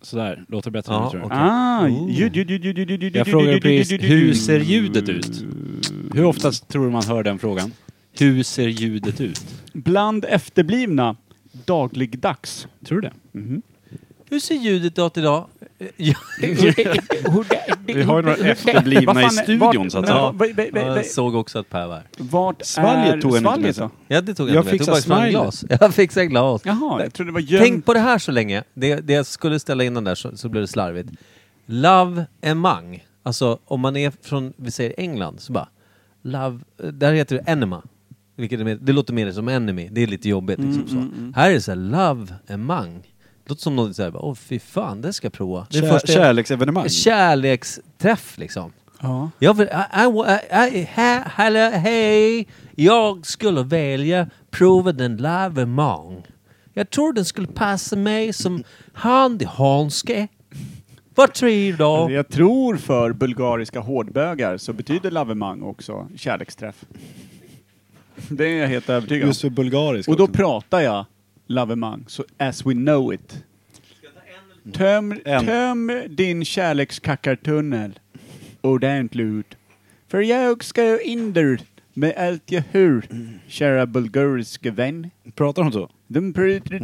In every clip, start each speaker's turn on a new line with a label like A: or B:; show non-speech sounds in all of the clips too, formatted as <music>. A: Sådär, låter bättre
B: Ja,
A: nu tror jag.
B: okej.
C: Ah,
B: Ooh.
C: ljud, ljud, ljud, ljud, ljud, ljud, ljud,
A: Jag frågar
C: ljud, ljud,
A: precis,
C: ljud,
A: hur
C: ljud.
A: ser ljudet ut? Hur ofta tror du man hör den frågan? Hur ser ljudet ut?
C: Bland efterblivna, dagligdags.
A: Tror du det?
B: Mm-hmm.
D: Hur ser ljudet ut idag? <laughs> Ja,
A: Vi har ju några efterblivna i studion så att säga.
D: jag såg också att Per var
C: Vart
A: Svalget
C: är
A: tog jag inte med
C: Alltså, svalget
A: sig.
C: då?
D: Ja, det tog jag,
A: Jag
D: inte med.
A: fixar
D: jag tog bara ett glas. <laughs> Jag fixar glas.
C: Jaha, jag trodde det var
D: Tänk
C: gömt.
D: på det här så länge. Det, det jag skulle ställa in den där så, så blev det slarvigt. Love emang. Alltså om man är från, vi säger England, så bara Love, där heter det enema. Vilket är mer, det låter mer som enemy, det är lite jobbigt liksom
A: Mm,
D: så. Här är det såhär love emang. Det låter som något såhär, åh fy fan, det ska jag prova. Det är
A: Kär,
D: första-
A: kärleksevenemang.
D: kärleksträff liksom.
C: Ja.
D: Jag vill, I, I, I, I, he- hallå, hej! Jag skulle välja prova den lavemang. Jag tror den skulle passa mig som hand i handske. Vad tror du?
C: Jag tror för bulgariska hårdbögar så betyder lavemang också kärleksträff. Det är jag helt övertygad om.
B: Just för bulgarisk.
C: Och då
B: också.
C: pratar jag lavemang, så as we know it. Töm,
B: En.
C: töm din kärlekskackartunnel ordentligt. För jag ska ju in där med allt jag hör, kära bulgariske vän.
A: Pratar de så?
C: De pratar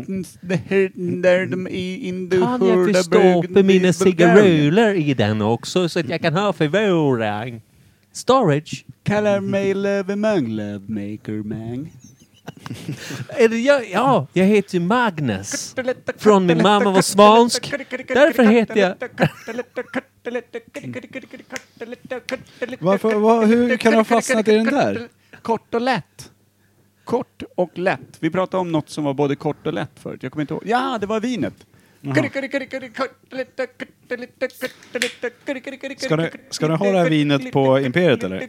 C: där de är in the
D: Kan jag få stoppa mina cigaruller i den också så att jag kan ha förvaring? Storage?
C: Kallar mig lavemang, lovemaker man.
D: Är det jag? Ja, jag heter ju Magnus. Från min mamma var svansk. Därför heter jag...
B: Varför, vad, hur kan du ha fastnat i den där?
C: Kort och lätt. Kort och lätt. Vi pratade om något som var både kort och lätt förut. Jag kommer inte ihåg. Ja, det var vinet.
B: Ska ni- ska ni ha det här vinet på Imperiet, eller?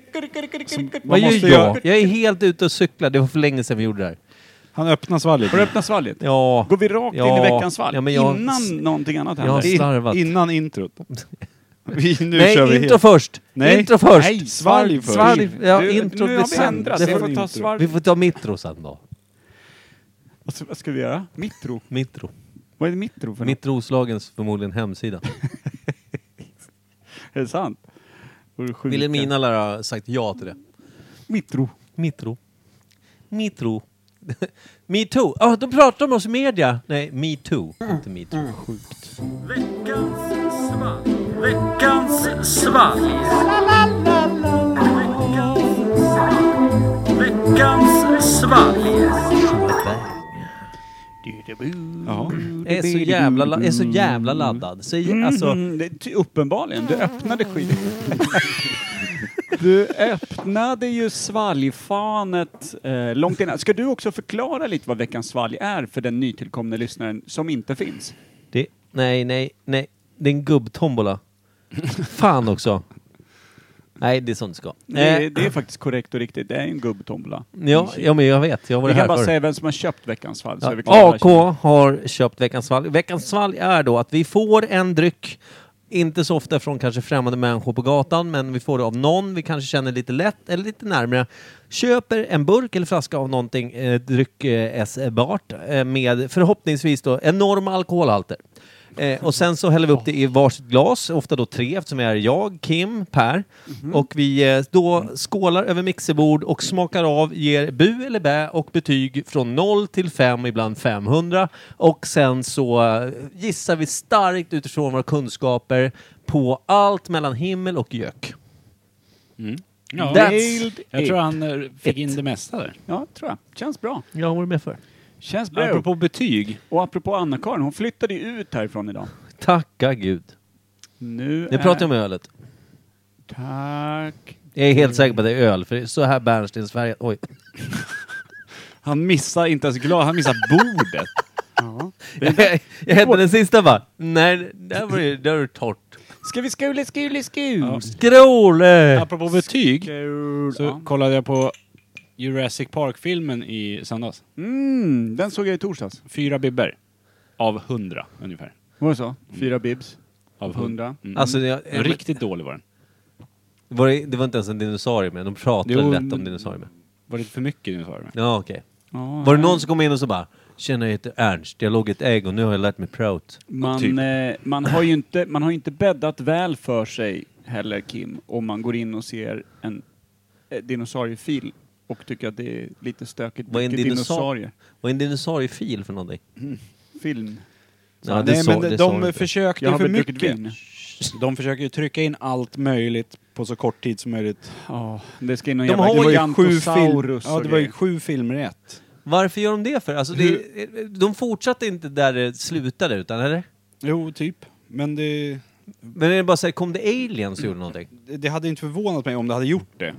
B: Som-
D: Vad
B: Man
D: gör
B: måste
D: jag?
B: göra-
D: Jag är helt ute och cyklar. Det var för länge sedan vi gjorde det här.
B: Han öppnar svalget.
C: Har du öppnat svalget?
D: Ja.
C: Går vi rakt in
D: Ja.
C: i veckans svalg?
D: Ja, men jag-
C: Innan någonting annat
D: Jag har
C: händer?
D: slarvat.
B: In, innan introt. Vi, nu kör vi
D: Nej, intro
B: helt.
D: först!
B: Nej.
D: Intro först!
B: Nej, svalg först.
D: Svalg, ja,
C: Du,
D: intro
C: nu
D: blir
C: har vi
D: sen.
C: ändrat.
D: Det
C: Vi
D: får-
C: får ta
D: Vi
C: svalg.
D: får ta mitro sen då.
C: Alltså, Vad ska vi göra? Mitro?
D: Mitro.
C: Vad är det mitro för något?
D: Mitroslagens förmodligen hemsida.
C: Är det sant? Var det sjukt?
D: Vilhelmina lär ha sagt ja till det.
C: Mitro.
D: Mitro. Mitro. <laughs> Metoo. Ja, de pratar om oss i media. Nej, metoo. Inte
C: Mm.
D: metoo. Sjukt.
B: Jaha.
D: Jag är så jävla, la- jag är så jävla laddad. Så, jag- alltså,
C: Mm, det, är ty, uppenbarligen, du öppnade <laughs> skiten. du öppnade ju svalgfanet eh, långt innan. Ska du också förklara lite vad veckans svalg är för den nytillkomne lyssnaren som inte finns?
D: Det, nej, nej, nej. Det är en gubbtombola. Fan också. Nej, det är sånt det ska.
C: Det,
D: Eh,
C: är- det är faktiskt korrekt och riktigt, det är en gubbtombola.
D: ja, ja, men jag vet. Jag var
C: Vi
D: här
C: kan bara
D: förr.
C: säga vem som har köpt veckans svalg. så är vi klara.
D: AK har köpt Veckans svalg. Veckans svalg är då att vi får en dryck, inte så ofta från kanske främmande människor på gatan, men vi får det av någon vi kanske känner lite lätt eller lite närmare. Köper en burk eller flaska av någonting, eh, dryck eh, S-bart, eh, med förhoppningsvis då enorma alkoholhalter. Eh, och sen så häller vi upp det i varsitt glas, ofta då tre eftersom vi är jag, Kim, Per. Och vi eh, då skålar över mixerbord och smakar av, ger bu eller bä och betyg från 0 till 5, ibland 500. Och sen så eh, gissar vi starkt utifrån våra kunskaper på allt mellan himmel och gök.
A: Ja,
C: That's
A: jag
C: it.
A: tror han eh, fick in
D: It.
A: det mesta där.
C: Ja, tror jag. Känns bra.
D: Ja, vad var du med för?
C: Känns bra.
A: Apropå betyg.
C: Och apropå Anna-Karin, hon flyttade ju ut härifrån idag.
D: Tacka gud.
C: Nu
D: Nu pratar jag om ölet.
C: Tack.
D: Jag är helt säker på att det är öl, för det är så här bärnstensfärgat. Oj.
B: Han missar inte ens glas, han missar bordet.
D: Jag, jag hette den sista bara. Nej, där var det, där var det torrt.
C: Ska vi skule, skule, skul? Ja.
D: Skråle!
A: Apropå betyg
C: Skul.
A: så kollade jag på Jurassic Park-filmen i söndags.
C: Mm, den såg jag i torsdags.
A: Fyra bibber. Av hundra ungefär.
C: Var det så? Fyra bibs.
A: Av hundra.
C: Hundra.
A: Mm.
D: Alltså, jag,
A: Men Riktigt dålig var den.
D: var det, det var inte ens en dinosaurie med, de pratade
A: Jo,
D: lätt
A: men-
D: om dinosaurier med.
A: Var det för mycket nu sa du?
D: Ja, okej.
C: Ja,
D: Var det någon som kom in och så bara Tjena, jag heter Ernst. Jag låg ett ägg och nu har jag lärt mig prout.
C: Man,
D: Typ.
C: eh, man, har ju inte, man har ju inte bäddat väl för sig heller, Kim, om man går in och ser en eh, dinosauriefil och tycker att det är lite stökigt.
D: Vad är en
C: mycket
D: dinosaur- Vad är en dinosauriefil för någonting?
C: Film.
D: Ja,
A: Nej
D: sa-
A: men de,
D: sa du.
A: de försöker
C: Jag
A: ju
C: har
A: för
C: bedruckit
A: mycket.
C: vin.
A: De försöker ju trycka in allt möjligt på så kort tid som möjligt.
C: Ja, det ska in någon
A: De
C: jävla
A: har ju sju, film,
C: gigantosaurus
A: ja,
C: och
A: det var ju
C: grejer.
A: sju filmer i ett.
D: Varför gör de det för? Alltså, det, de fortsatte inte där det slutade, utan eller?
A: Jo, typ. Men det,
D: Men är det bara så här, kom det aliens och gjorde någonting?
A: det hade inte förvånat mig om det hade gjort det.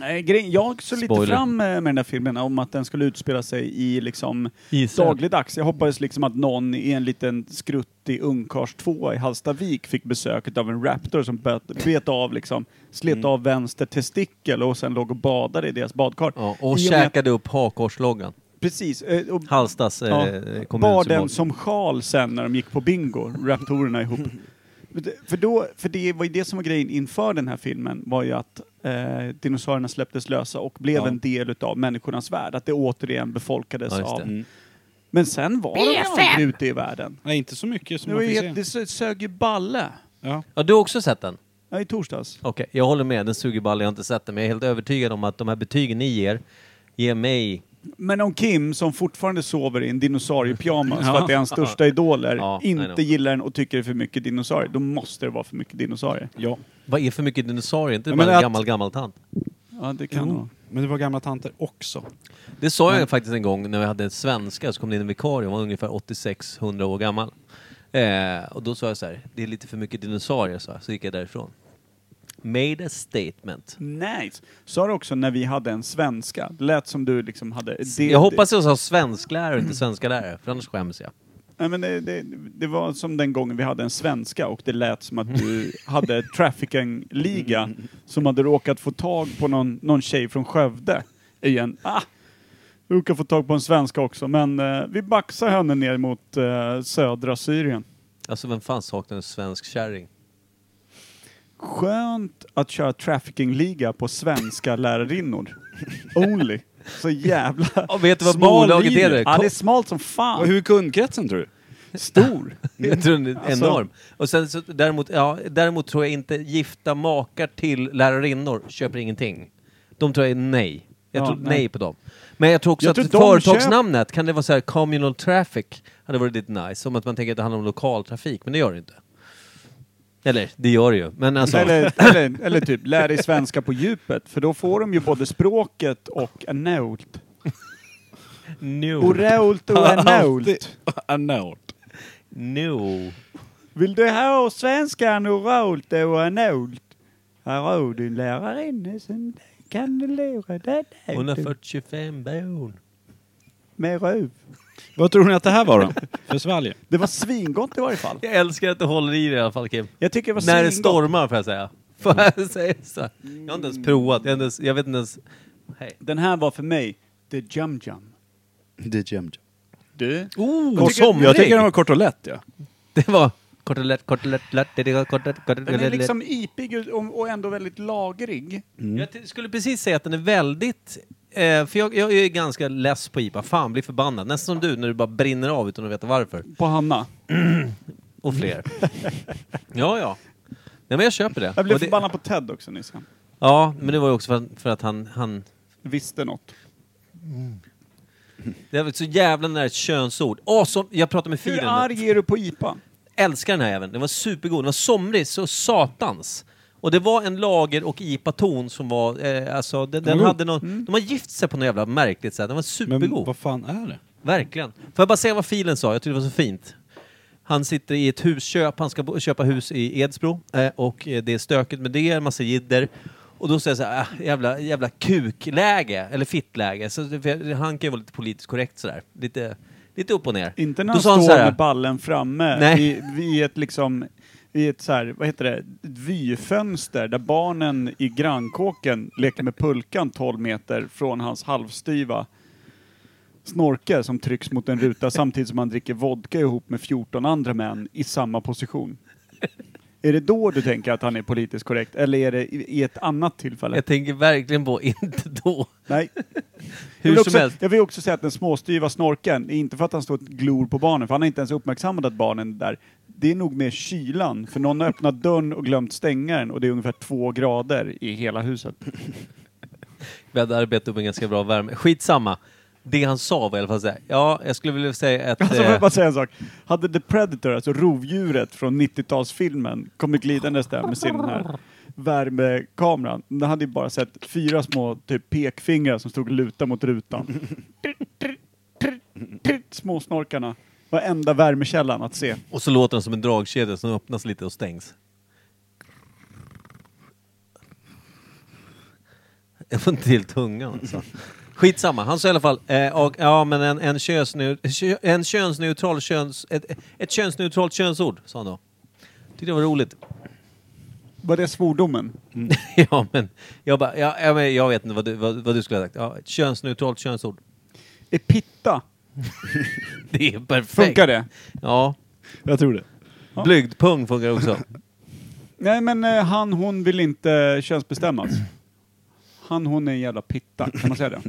C: Nej, grejen- jag såg lite
D: Spoiler.
C: fram eh, med den där filmen om att den skulle utspela sig i liksom
D: Israel.
C: dagligdags. Jag hoppades liksom att någon i en liten skruttig ungkarls tvåa i Hallstavik fick besöket av en raptor som bet, bet av liksom, slet
D: Mm.
C: av vänster testikel och sen låg och badade i deras badkar.
D: Ja, och
C: I och med att-
D: käkade upp hakkorsloggan.
C: Precis. eh, Och
D: Halstas
C: Ja.
D: eh,
C: bar den
D: kommunsymbol.
C: som sjal sen när de gick på bingo,
D: <laughs>
C: raptorerna ihop. Men det- För, då, för det var ju det som var grejen inför den här filmen, var ju att eh, dinosaurierna släpptes lösa och blev
A: Ja.
C: en del av människornas värld. Att det återigen befolkades
D: Ja, just det. Mm.
C: av... Men sen var de ju aldrig ute i världen.
A: Nej, inte så mycket som
C: Det,
A: man
C: var ju
A: fick
C: helt,
A: se.
C: det sö- sög ju balle.
A: Ja.
D: Ja, du har också sett den?
C: Ja, i torsdags.
D: Okej, jag håller med. Den suger ball, jag har inte sett den. Men jag är helt övertygad om att de här betygen ni ger, ger mig...
C: Men om Kim, som fortfarande sover i en
D: <laughs>
C: dinosauriepyjamas för att det är hans största idoler,
D: Ja, I know.
C: inte gillar den och tycker det är för mycket dinosaurier, då måste det vara för mycket dinosaurier.
A: ja.
D: Vad är för mycket dinosaurier? Inte
A: Ja,
D: bara
A: men
D: en
A: att-
D: gammal, gammal tant.
C: Ja, det kan vara.
A: Men det var gamla tanter också.
D: Det sa jag faktiskt en gång när vi hade en svenska, så kom det in en vikarie, hon var ungefär 86-100 år gammal. Eh, och då sa jag så här, det är lite för mycket dinosaurier, så, så gick jag därifrån. Made a statement.
C: Nice! Sa du också när vi hade en svenska? Det lät som du liksom hade... Det,
D: jag hoppas jag sa svensklärare och inte svenska lärare, för annars skäms jag.
C: Det, nej, men det, det, det var som den gången vi hade en svenska och det lät som
D: <laughs>
C: att du hade trafficking-liga som hade råkat få tag på någon, någon tjej från Skövde i en... Ah, råkade få tag på en svenska också, men eh, vi baxar henne ner mot eh, södra Syrien.
D: Alltså vem fan saknar en svensk kärring?
C: Skönt att köra trafficking-liga
D: <laughs>
C: på svenska lärarinnor. Only. Så jävla
D: Ja, vet du vad
C: smal
D: bolaget
C: linje.
D: heter?
C: Ja,
D: Ko-
C: det är smalt som
A: Och
C: fan.
A: hur är kundkretsen <laughs> tror du?
C: Stor.
D: <laughs> Jag tror den är
C: Alltså-
D: enorm. Och sen så, däremot, ja, däremot tror jag inte gifta makar till lärarinnor köper ingenting. De tror jag är nej. Jag
C: Ja,
D: tror nej.
C: nej.
D: på dem. Men jag tror också
C: Jag
D: att
C: tror de
D: företagsnamnet, kan det vara så här communal traffic? Hade varit lite nice. Som att man tänker att det handlar om lokaltrafik, men det gör det inte. Eller, det gör det ju. Men alltså, <laughs>
C: Eller, eller, eller typ, lär dig svenska på djupet, för då får de ju både språket och enault.
D: no.
C: Orault och
D: <laughs>
C: enault.
A: Anort.
D: no.
C: Vill du ha svenskan orault och enault? Här har du en lärarinna som kan lära dig
D: Hon har
C: det
D: fått 25 barn.
C: med röv.
A: Vad tror ni att det här var då? För Svalge?
C: Det var svingott i varje fall.
D: Jag älskar att du håller i det i alla fall, Kim.
C: Jag tycker det var
D: När det
C: svingott.
D: stormar, får jag säga. <laughs> Får jag säga så? här? Jag har inte ens provat. Jag, har inte ens, jag vet inte ens... Hej.
C: Den här var för mig the jum jum.
A: Det jämnt.
C: Du?
D: Oh,
A: Jag tycker, jag tycker den var kort och lätt ja.
D: <laughs> Det var... Kortelett, kortelett, lätt, det var kortelett,
C: Den är
D: kortelett,
C: liksom ipig och- och ändå väldigt lagrig.
D: Mm. Jag t- skulle precis säga att den är väldigt... Eh, för jag, jag är ganska less på IPA. Fan, blir förbannad. Nästan som du, när du bara brinner av utan att veta varför.
C: På Hanna.
D: Och fler. ja, ja. Nej, men jag köper det.
C: Jag blev
D: Och det
C: förbannad på Ted också nyss. Han
D: ja, men det var ju också för, för att han... han
C: Visste något.
D: det var ett så jävla nära ett könsord. Åh, som, jag pratade med
C: Hur
D: Firen.
C: arg är du på IPA?
D: älskar den här även. Den var supergod. Den var somrig så satans. Och det var en lager och IPA-ton som var, eh, alltså den, den
A: Mm.
D: hade någon, de har gift sig på något jävla märkligt sätt. Den var
A: Men
D: supergod.
A: vad fan är det?
D: Verkligen. Får jag bara säga vad filen sa? Jag tyckte det var så fint. Han sitter i ett husköp, han ska bo- köpa hus i Edsbro eh, och eh, det är stökigt med det, en massa jidder. Och då säger jag så här, ah, jävla, jävla kukläge, eller fittläge. Så, det- för han kan ju vara lite politiskt korrekt sådär. Lite, lite upp och ner.
C: Inte
D: Då
C: när han
D: sa
C: står
D: så här,
C: med ballen framme
D: Nej.
C: i, i ett liksom i ett så här, vad heter det, ett vyfönster där barnen i grannkåken leker med pulkan 12 meter från hans halvstyva snorkel som trycks mot en ruta samtidigt som han dricker vodka ihop med 14 andra män i samma position. Är det då du tänker att han är politiskt korrekt eller är det i i ett annat tillfälle?
D: Jag tänker verkligen på <laughs> inte då. <laughs>
C: Nej.
D: Hur
C: jag, vill
D: som
C: också,
D: helst.
C: jag vill också säga att den småstyva snorken, är inte för att han står och glor på barnen, för han har inte ens uppmärksammat att barnen är där. Det är nog mer kylan, för någon har öppnat dörren och glömt stänga den och det är ungefär två grader i hela huset.
D: Vi hade arbetat upp en ganska bra värme. Skitsamma. Det han sa var i alla fall såhär, ja, jag skulle vilja säga att...
C: <laughs> Alltså, får
D: eh,
C: jag bara säga en sak? Hade The Predator, alltså rovdjuret från 90-talsfilmen, kommit glidandes där med sin här värmekameran, då hade ju bara sett fyra små typ pekfingrar som stod luta mot rutan. Småsnorkarna. Var enda värmekällan att se.
D: eh, och så låter den som en dragkedja som öppnas lite och stängs. Jag får inte till tungan alltså. Skitsamma, han sa i alla fall, eh, och, ja men en, en, könsneu, kö, en könsneutral köns... Ett, ett könsneutralt könsord, sa han då. Tyckte det var roligt.
C: Var det svordomen?
D: Mm. <laughs> ja men, jag bara, ja, ja, men jag vet inte vad du, vad, vad du skulle ha sagt. Ja, ett könsneutralt könsord. <laughs>
C: Är pitta?
D: Det är perfekt.
C: Funkar det?
D: Ja.
A: Jag tror det.
D: Blygdpung funkar
C: <laughs>
D: också.
C: Nej men eh, han hon vill inte könsbestämmas. Han hon är en jävla pitta, kan man säga det?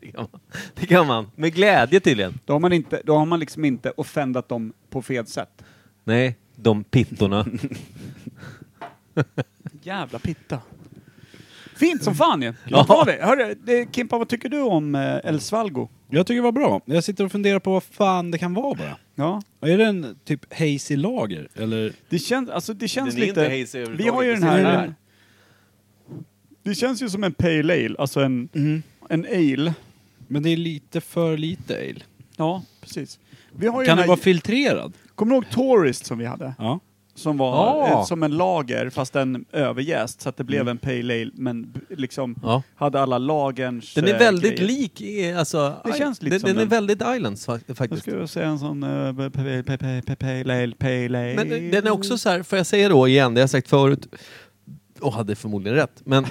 D: det, kan man. det kan man. Med glädje tydligen.
C: Då har man, inte, då har man liksom inte offendat dem på fel sätt.
D: Nej, de
C: <laughs>
D: pittorna.
C: Jävla pitta. Fint som fan ju! Låt vara det. Hörru, det, Kimpa, vad tycker du om eh, El Svalgo?
A: Jag tycker det var bra. Jag sitter och funderar på vad fan det kan vara bara.
C: Ja.
A: Är det en typ hazy lager? Eller?
C: Det känns, alltså det känns
D: Den är
C: lite...
D: inte hazy
C: vi
D: överhuvudtaget,
C: har ju
D: det
C: den
D: ser
C: här,
D: man här.
C: Det känns ju som en pale ale, alltså en,
B: Mm.
D: Mm.
C: en ale.
A: Men det är lite för lite ale.
C: Ja, precis. Vi har ju
A: Kan
C: den
A: det
C: här,
A: vara filtrerad?
C: Kommer du ihåg Tourist som vi hade?
A: Ja.
C: Som var
D: Ja.
C: eh, som en lager fast en överjäst så att det blev en pale ale men b- liksom
D: Ja.
C: hade alla lagerns
D: Den är
C: eh,
D: väldigt
C: grejer.
D: lik i, alltså,
C: Det
D: i-
C: känns lite
D: den,
C: som
D: den är
C: den.
D: väldigt Islands fa-
C: Jag
D: faktiskt.
C: skulle säga en sån eh, p- p- p- p- p- pale ale, pale ale.
D: Men eh, den är också så här, får jag säga då igen, det har jag sagt förut och hade förmodligen rätt,
C: <laughs>
D: men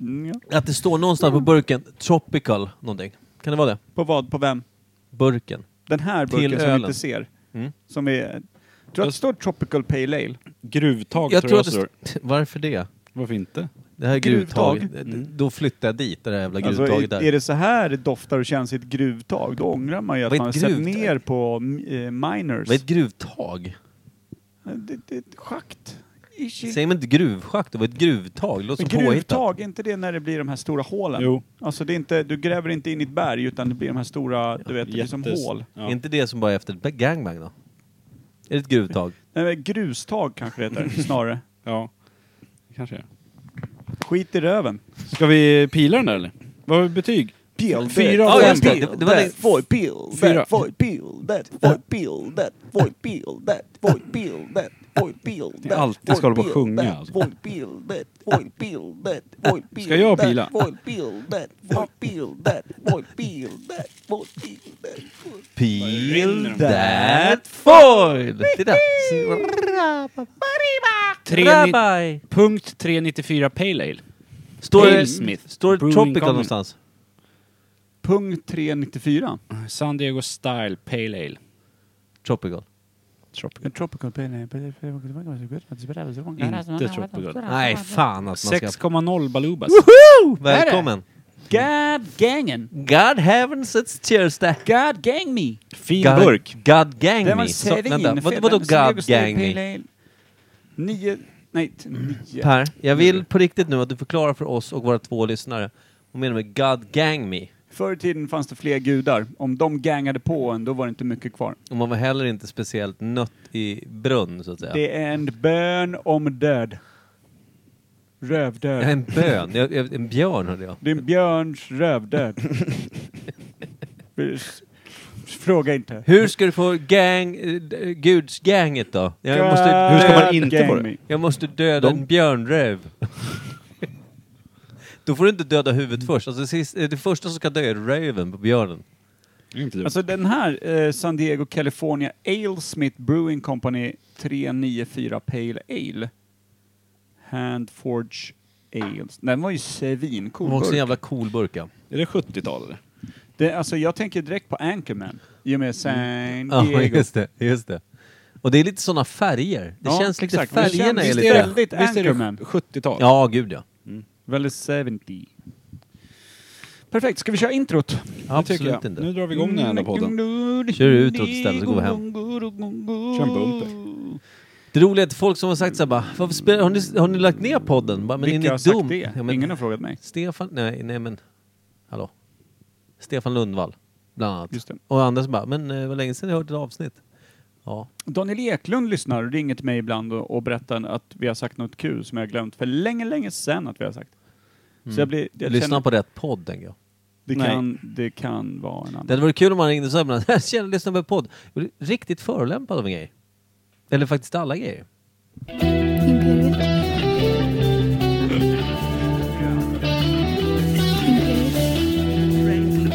C: Mm, ja.
D: att det står någonstans på burken, tropical någonting. Kan det vara det?
C: På vad? På vem?
D: Burken.
C: Den här
D: Till
C: burken som vi
D: ölen.
C: inte ser.
D: Mm.
C: Som är... Tror du att det står Tropical Pale Ale?
A: Gruvtag
D: Jag tror att det
A: står.
D: st- <laughs> Varför det?
A: Varför inte?
D: Det här är gruvtag.
C: Gruvtag.
D: Mm. Då flyttar jag dit, det där jävla
C: Alltså,
D: gruvtaget
C: är,
D: där.
C: är det så här det doftar och känns i ett gruvtag, då ångrar man ju att
D: Vad är
C: man har
D: ett
C: sett
D: gruvtag?
C: ner på eh, miners.
D: Vad är ett gruvtag?
C: Det, det är ett schakt. Ishi.
D: Säger man inte gruvschakt? Det var ett gruvtag. Det låter
C: Men
D: som påhittat.
C: gruvtag, är inte det när det blir de här stora hålen?
A: Jo.
C: Alltså det är inte, du gräver inte in i ett berg utan det blir de här stora, du vet, det blir som
A: Jättes-
C: hål.
A: Ja.
D: Är inte det som bara är efter ett gangbang då? Är det ett gruvtag?
C: Nej, men grustag kanske det heter, snarare.
A: ja. Det kanske är.
C: Skit i röven.
A: Ska vi pila den där eller? Vad har vi betyg?
E: Peel
A: Fyra
E: that,
A: av
E: foil
A: fem.
E: peel
D: Det- det var
E: that,
D: det-
E: foil peel
A: Fyra.
E: that, foil peel that, foil peel that, foil peel that, foil peel that, foil peel that.
A: Det är alltid ska
E: foil
A: hålla på och
E: peel
A: sjunga,
E: that,
A: alltså.
E: Foil peel that, foil peel that, foil peel
A: <laughs> Ska jag
E: that,
A: pila?
E: Foil peel that, foil peel that, foil peel that, foil peel that. foil-
D: Peel that foil! Titta!
A: Tre ni-
D: Rabbi!
A: Punkt 394 Pale Ale.
D: Står
A: Pale
D: det,
A: Smith.
D: står det
A: Brewing
D: tropical
A: Company.
D: någonstans?
C: Punkt 394.
A: San Diego Style Pale
D: Mm.
A: Ale.
D: Tropical.
C: En tropical pale ale.
A: Inte Tropical.
D: Nej, fan att man ska...
A: 6,0 Balubas.
D: Välkommen!
C: God gangen!
D: God heavens, it's cheers that...
C: God gang me!
A: Fin
D: God,
A: burk.
D: God gang
C: Det var
D: me!
C: en
D: Så,
C: sering.
D: vänta, vad, vadå God gang me?
C: Nio... Nej, t- nio.
D: Per, jag
C: Mm.
D: vill på riktigt nu att du förklarar för oss och våra två lyssnare vad menar du med God gang me?
C: Förr i tiden fanns det fler gudar. Om de gangade på en, då var det inte mycket kvar.
D: Och man var heller inte speciellt nött i brunn, så att säga.
C: Det är en bön om död. Rövdöd.
D: Ja, en bön. Jag, jag, en björn hörde jag.
C: Det är en björns rövdöd. Fråga inte.
D: Hur ska du få gang... eh, d- Gudsganget då? Jag
A: Hur
D: måste,
A: ska man
C: God
A: inte få
C: gang
A: det?
C: me.
D: jag måste döda en björnröv. Då får du inte döda huvudet först. Alltså, det, sist, eh, det första som ska dö är röven på björnen.
A: Inte dumt.
C: Alltså den här eh, San Diego California Alesmith Brewing Company 394 Pale Ale. Handforge Ales. Den var ju
D: Det var
C: svincool.
D: också en
C: burk.
D: jävla cool burka.
A: Är det 70-tal eller?
C: Det, alltså jag tänker direkt på Anchorman. I och med San
D: Ja,
C: Diego.
D: just det. Just det. Och det är lite sådana färger. Det
C: Ja,
D: känns lite
C: exakt. Det
D: färgerna är
C: känns- visst
D: lite...
C: det- väldigt
A: visst är det
C: Anchorman.
A: 70-tal?
D: Ja, gud ja.
C: Väldigt 70. Perfekt, ska vi köra introt?
D: Absolut inte.
A: Nu drar vi igång den här jävla podden.
D: Kör utrot istället så går vi hem.
A: Kör en bumper.
D: Det roliga är att folk som har sagt såhär bara, varför spelar, har, ni, har ni lagt ner podden? Bara, men
C: Vilka
D: är
C: har
D: ni
C: sagt
D: dum?
C: det?
D: Ja, men,
C: Ingen har frågat mig.
D: Stefan, nej, nej men, hallå. Stefan Lundvall, bland annat.
C: Just det.
D: Och andra som bara, men eh, vad länge sedan jag hört ett avsnitt. Ja,
C: Daniel Eklund lyssnar och ringer till mig ibland och, och berättar att vi har sagt något kul som jag har glömt för länge, länge sedan att vi har sagt. Så jag blir... Jag
D: lyssna
C: känner-
D: Mm. på rätt podd tänker jag.
C: Det
A: Nej.
C: kan, det kan vara en annan.
D: Det hade varit kul om man ringde och sa ibland, jag känner, lyssna på en podd. Jag blev riktigt förolämpad av en grej. Eller faktiskt alla grejer.
F: Imperiet. Imperiet.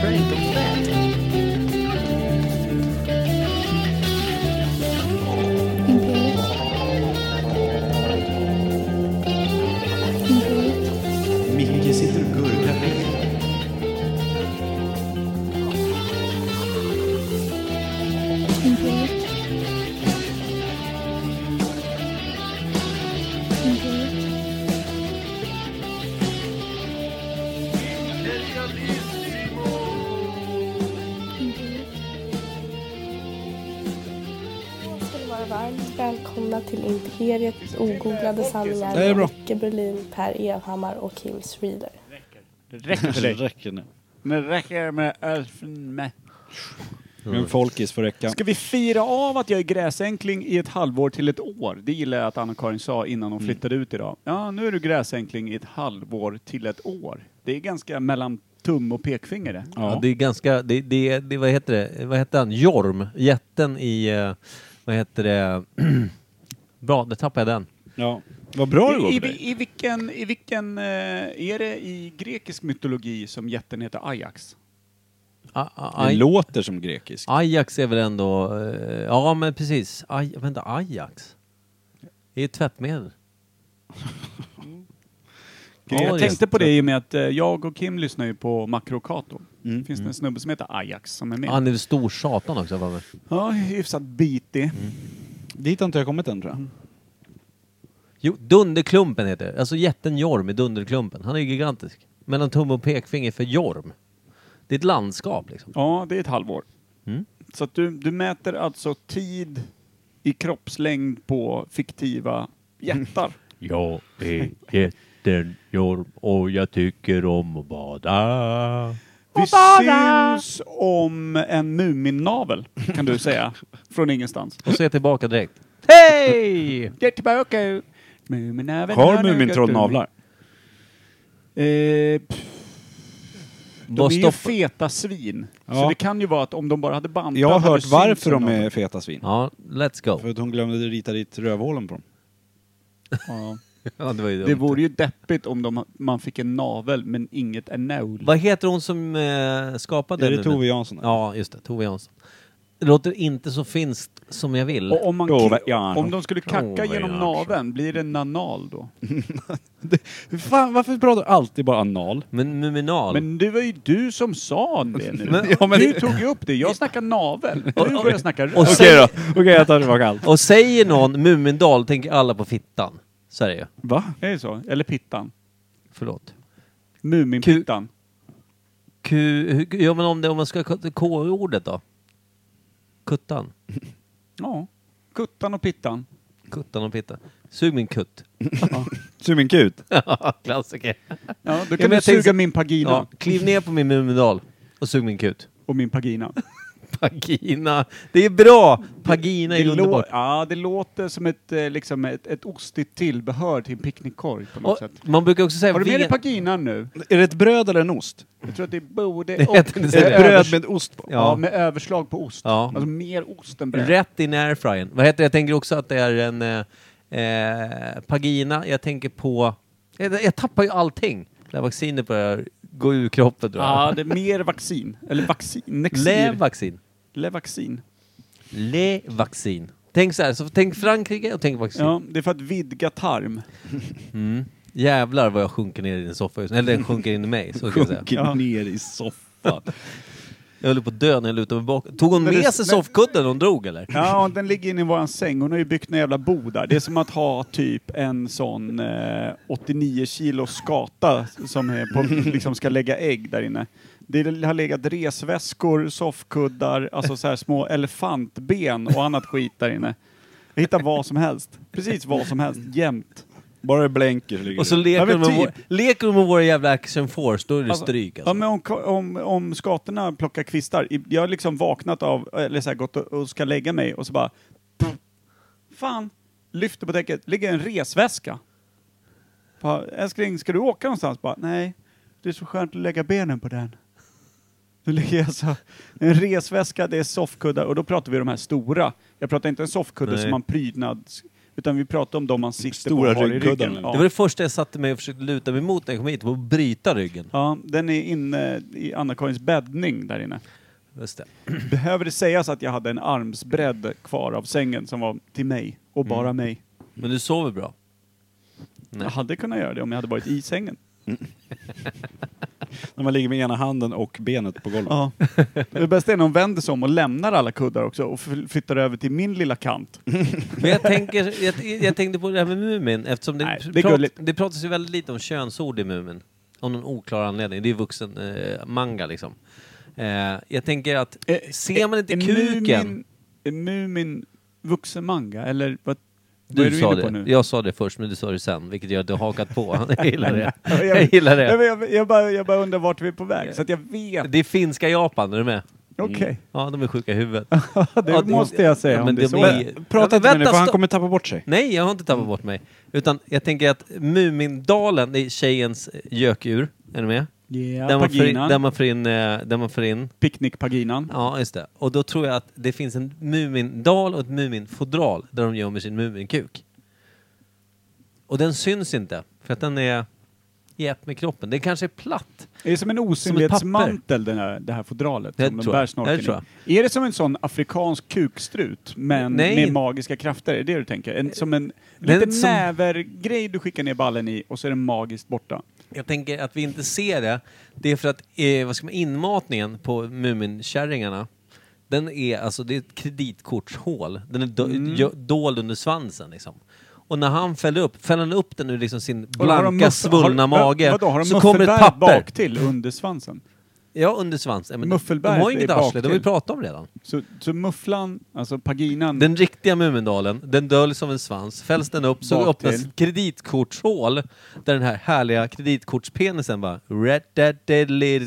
F: Imperiet. Imperiet.
B: Micke sitter och gurglar.
F: Imperiet. Imperiet. Imperiet.
G: ska ni vara varmt välkomna till Imperiets ogooglade sanningar
A: Det är bra.
G: med Micke Berlin, Per Evhammar och Kim Schreeder.
C: Det räcker för
A: Det
C: dig.
A: räcker nu.
C: Det räcker med elfen med.
A: En folkis får räcka.
C: Ska vi fira av att jag är gräsänkling i ett halvår till ett år? Det gillar jag att Anna-Karin sa innan hon
D: Mm.
C: flyttade ut idag. Ja, nu är du gräsänkling i ett halvår till ett år. Det är ganska mellan tum och pekfinger det.
D: Ja.
A: Ja.
D: det är ganska, det, det, det, vad heter det, vad hette han, Jorm, jätten i, eh, vad heter det, <clears throat> bra, där tappade jag den.
A: Ja. Vad bra det går
C: I,
A: för dig.
C: i, i vilken, i vilken eh, är det i grekisk mytologi som jätten heter Ajax?
D: A, a,
A: Det
D: aj,
A: låter som grekisk.
D: Ajax är väl ändå, eh, ja men precis, aj, vänta, Ajax? Det är ju tvättmedel. Ja,
C: jag
D: det är-
C: tänkte på det i och med att eh, jag och Kim lyssnar ju på Makrokato.
A: Mm.
C: Finns det en snubbe som heter Ajax som är med?
D: Han är väl stor satan också för mig.
C: Ja, hyfsat bitig.
A: Dit har inte jag kommit än tror jag.
D: Jo, Dunderklumpen heter det. Alltså jätten Jorm i Dunderklumpen. Han är ju gigantisk. Mellan tumme och pekfinger för Jorm. Det är ett landskap liksom.
C: Ja, det är ett halvår.
D: Mm.
C: Så att du, du mäter alltså tid i kroppslängd på fiktiva jättar.
H: Jag är jätten Jorm och jag tycker om att bada.
C: Vi syns om en Muminnavel, kan du säga. Från ingenstans.
D: Och så är jag tillbaka direkt.
C: Hej! Jag är tillbaka! Muminnaveln
A: Har
C: nu gått
A: Mumintroll
C: ur.
A: navlar?
C: Eh, pff, de är
D: Vad
C: ju
D: stopp-
C: feta svin. Så
A: Ja.
C: det kan ju vara att om de bara hade bantat...
A: Jag har
C: hade
A: hört
C: synts
A: varför de
C: navlar.
A: är feta svin.
D: Ja, let's go.
B: <laughs>
A: För att hon glömde rita dit rövhålen på dem.
C: Ja.
D: Ja, det var ju dumt.
C: Det vore ju deppigt om de, man fick en navel men inget ennål.
D: Vad heter hon som eh, skapade
A: Är det
D: nu?
A: Tove Jansson?
D: Ja, just det. Tove Jansson. Det låter inte så finskt som jag vill.
C: Och om, man
A: Prova
C: ki-
A: järn.
C: om de skulle kacka
D: Prova
C: genom
D: järn.
C: naveln, blir det nanal då?
A: Hur Fan, varför pratar du alltid bara anal?
D: Men Muminal.
C: Men det var ju du som sa det nu.
D: Men- Ja, men-
C: du tog ju upp det. Jag snackar navel. Du börjar snacka röv.
D: och säg,
A: Okej, jag tar tillbaka allt.
D: och säger någon Mumindal tänker alla på fittan. Så är det ju.
C: Va? Är det så? Eller pittan?
D: Förlåt.
C: Muminpittan?
D: Q, hur- ja men om, det, om man ska k- K-ordet då? Kuttan.
C: Ja. Kuttan och pittan.
D: Kuttan och pitta. Sug min kutt. <laughs>
A: Sug min kut.
D: Klassiker.
C: Ja, då
D: men
C: kan du
D: jag
C: suga
D: tänkte-
C: min pagina.
D: Ja, kliv ner på min Mumindal och sug min kut.
C: Och
D: <laughs>
C: min pagina.
D: Pagina. Det är bra! Pagina är
C: det, lå-
D: underbart.
C: ja, det låter som ett, eh, liksom ett, ett ostigt tillbehör till en picknickkorg på något
D: Och
C: sätt.
D: man brukar också säga...
C: Har du med dig
D: vegan-
C: paginan nu?
A: Är det ett bröd eller en ost?
C: Jag tror att det är både
D: Det
C: och.
D: heter inte så.
C: Med
A: Ett
C: övers-
A: bröd med ost på?
C: Ja,
D: Ja.
C: med överslag på ost.
D: Ja.
C: Alltså mer ost än bröd.
D: Rätt in i airfryern. Vad heter det? Jag tänker också att det är en eh, eh, Pagina. Jag tänker på... Jag, jag tappar ju allting när vaccinet börjar gå ur kroppen. tror jag.
C: Ja, det är mer vaccin. Eller vaccin. Nexir.
D: Levaxin.
C: Levaxin.
D: Levaxin. Tänk så här, så tänk Frankrike och tänk vaccin.
C: Ja, det är för att vidga tarm.
D: Jävlar vad jag sjunker ner i din soffa just nu. Eller den sjunker in i mig, så kan jag säga. <laughs>
A: Sjunker ner i soffan.
D: Jag höll på att dö när jag lutade mig bakåt. Tog hon
C: Men
D: med
C: det-
D: sig
C: men-
D: soffkudden hon drog eller?
C: <laughs> Ja, den ligger inne i våran säng. Hon har ju byggt en jävla bo där. Det är som att ha typ en sån eh, 89 kilo skata som är
A: <laughs>
C: på, liksom ska lägga ägg där inne. Det har legat resväskor, soffkuddar, alltså så här små elefantben och annat skit där inne. Jag hittar vad som helst. Precis vad som helst, jämt.
A: Bara det blänker så ligger
D: Och så
A: det.
D: leker
C: men
D: hon med,
C: typ.
D: vår, leker hon med våra jävla action force, då är det
C: Alltså,
D: stryk
C: Ja,
D: alltså.
C: men om, om, om skatorna plockar kvistar. i- Jag har liksom vaknat av, eller så här, gått och, och ska lägga mig och så bara... Fan! Lyfter på däcket, ligger en resväska. Bara, Älskling, ska du åka någonstans? Bara, nej, det är så skönt att lägga benen på den. Nu ligger jag så. En resväska, det är soffkuddar och då pratar vi om de här stora. Jag pratar inte en soffkudde
D: Nej.
C: som man prydnads... Utan vi pratar om de man sitter
A: Stora
C: på och har i
A: ryggkuddar,
C: ryggen.
A: men-
D: Det var det första jag satte mig och försökte luta mig mot när jag kom hit, var att bryta ryggen.
C: Ja, den är inne i Anna-Karins bäddning där inne.
D: Just det.
C: Behöver det sägas att jag hade en armsbredd kvar av sängen som var till mig och bara mig?
D: Men du sover bra. Mm. Nej.
C: Jag hade kunnat göra det om jag hade varit i sängen.
A: När man ligger med ena handen och benet på golvet.
C: Ja. <laughs> Det bästa är när hon vänder sig om och lämnar alla kuddar också och fl- flyttar över till min lilla kant.
D: Men jag, tänker, jag, jag tänkte på det här med Mumin, eftersom det,
C: Nej,
D: pr-
C: det är
D: prat,
C: gulligt.
D: det pratas ju väldigt lite om könsord i Mumin. Av någon oklar anledning. Det är vuxen eh, manga liksom. Eh, jag tänker att, Eh, ser man inte
C: är
D: kuken...
C: Eh, Mumin- Är Mumin vuxen manga eller vad, vad
D: Du,
C: är du
D: sa
C: inne på
D: det.
C: nu?
D: Jag sa det först, men du sa det sen, vilket jag har hakat
C: <laughs>
D: på. Jag gillar det. <laughs>
C: Jag-
D: Jag gillar
C: Jag,
D: det. Mm.
C: jag, jag, bara, jag bara undrar vart vi är på väg, så att jag vet.
D: Det är finska Japan, är du med?
C: Okej.
D: Ja, de är sjuka i huvudet.
C: <laughs> det
D: Ja,
C: måste jag säga
D: Ja,
C: om
D: men
C: det
D: det
C: är så.
D: blir-
C: Men-
A: Prata
D: Ja,
A: inte med nu
D: vänta,
A: för han
D: stopp.
A: kommer tappa bort sig.
D: Nej, jag har inte tappat bort mig. Utan jag tänker att Mumindalen, det är tjejens eh, gökur. Är du med?
C: Ja,
D: där, man får in,
C: Paginan.
D: där man får in... eh, Där man får in
C: Picknickpaginan.
D: ja, just det. Och då tror jag att det finns en Mumindal och ett Muminfodral där de gömmer sin Muminkuk. Och den syns inte, för att den är i ett med kroppen. Den kanske är platt.
C: Det är som en osynlighetsmantel den här, det här fodralet
D: Det
C: som de
D: tror
C: bär
D: jag. Det tror
C: snorken i. Är det som en sån afrikansk kukstrut men
D: Nej.
C: med magiska krafter? Är det du tänker? En, som en
D: Den
C: liten
D: som-
C: nävergrej du skickar ner ballen i och så är den magiskt borta.
D: Jag tänker att vi inte ser det. Det är för att eh, vad ska man, inmatningen på Muminkärringarna den är alltså, det är ett kreditkortshål. Den är do,
C: Mm.
D: gö- dold under svansen liksom. Och när han fäller upp, fäller han upp den ur liksom sin
C: Och då har de
D: blanka
C: muff-
D: svullna
C: har-
D: mage
C: Vadå, har de
D: så kommer ett
C: muffelbär
D: papper.
C: bak till under svansen?
D: Ja, under svansen. Men de, de
C: Muffelbäret
D: har
C: är
D: ju inget
C: bak
D: arsle, det har vi
C: till.
D: pratat om redan.
C: Så, så mufflan, alltså paginan,
D: Den riktiga Mumindalen, den döljs av en svans. Fälls den upp så
C: Bak
D: öppnas
C: till.
D: ett kreditkortshål där den här härliga kreditkortspenisen bara...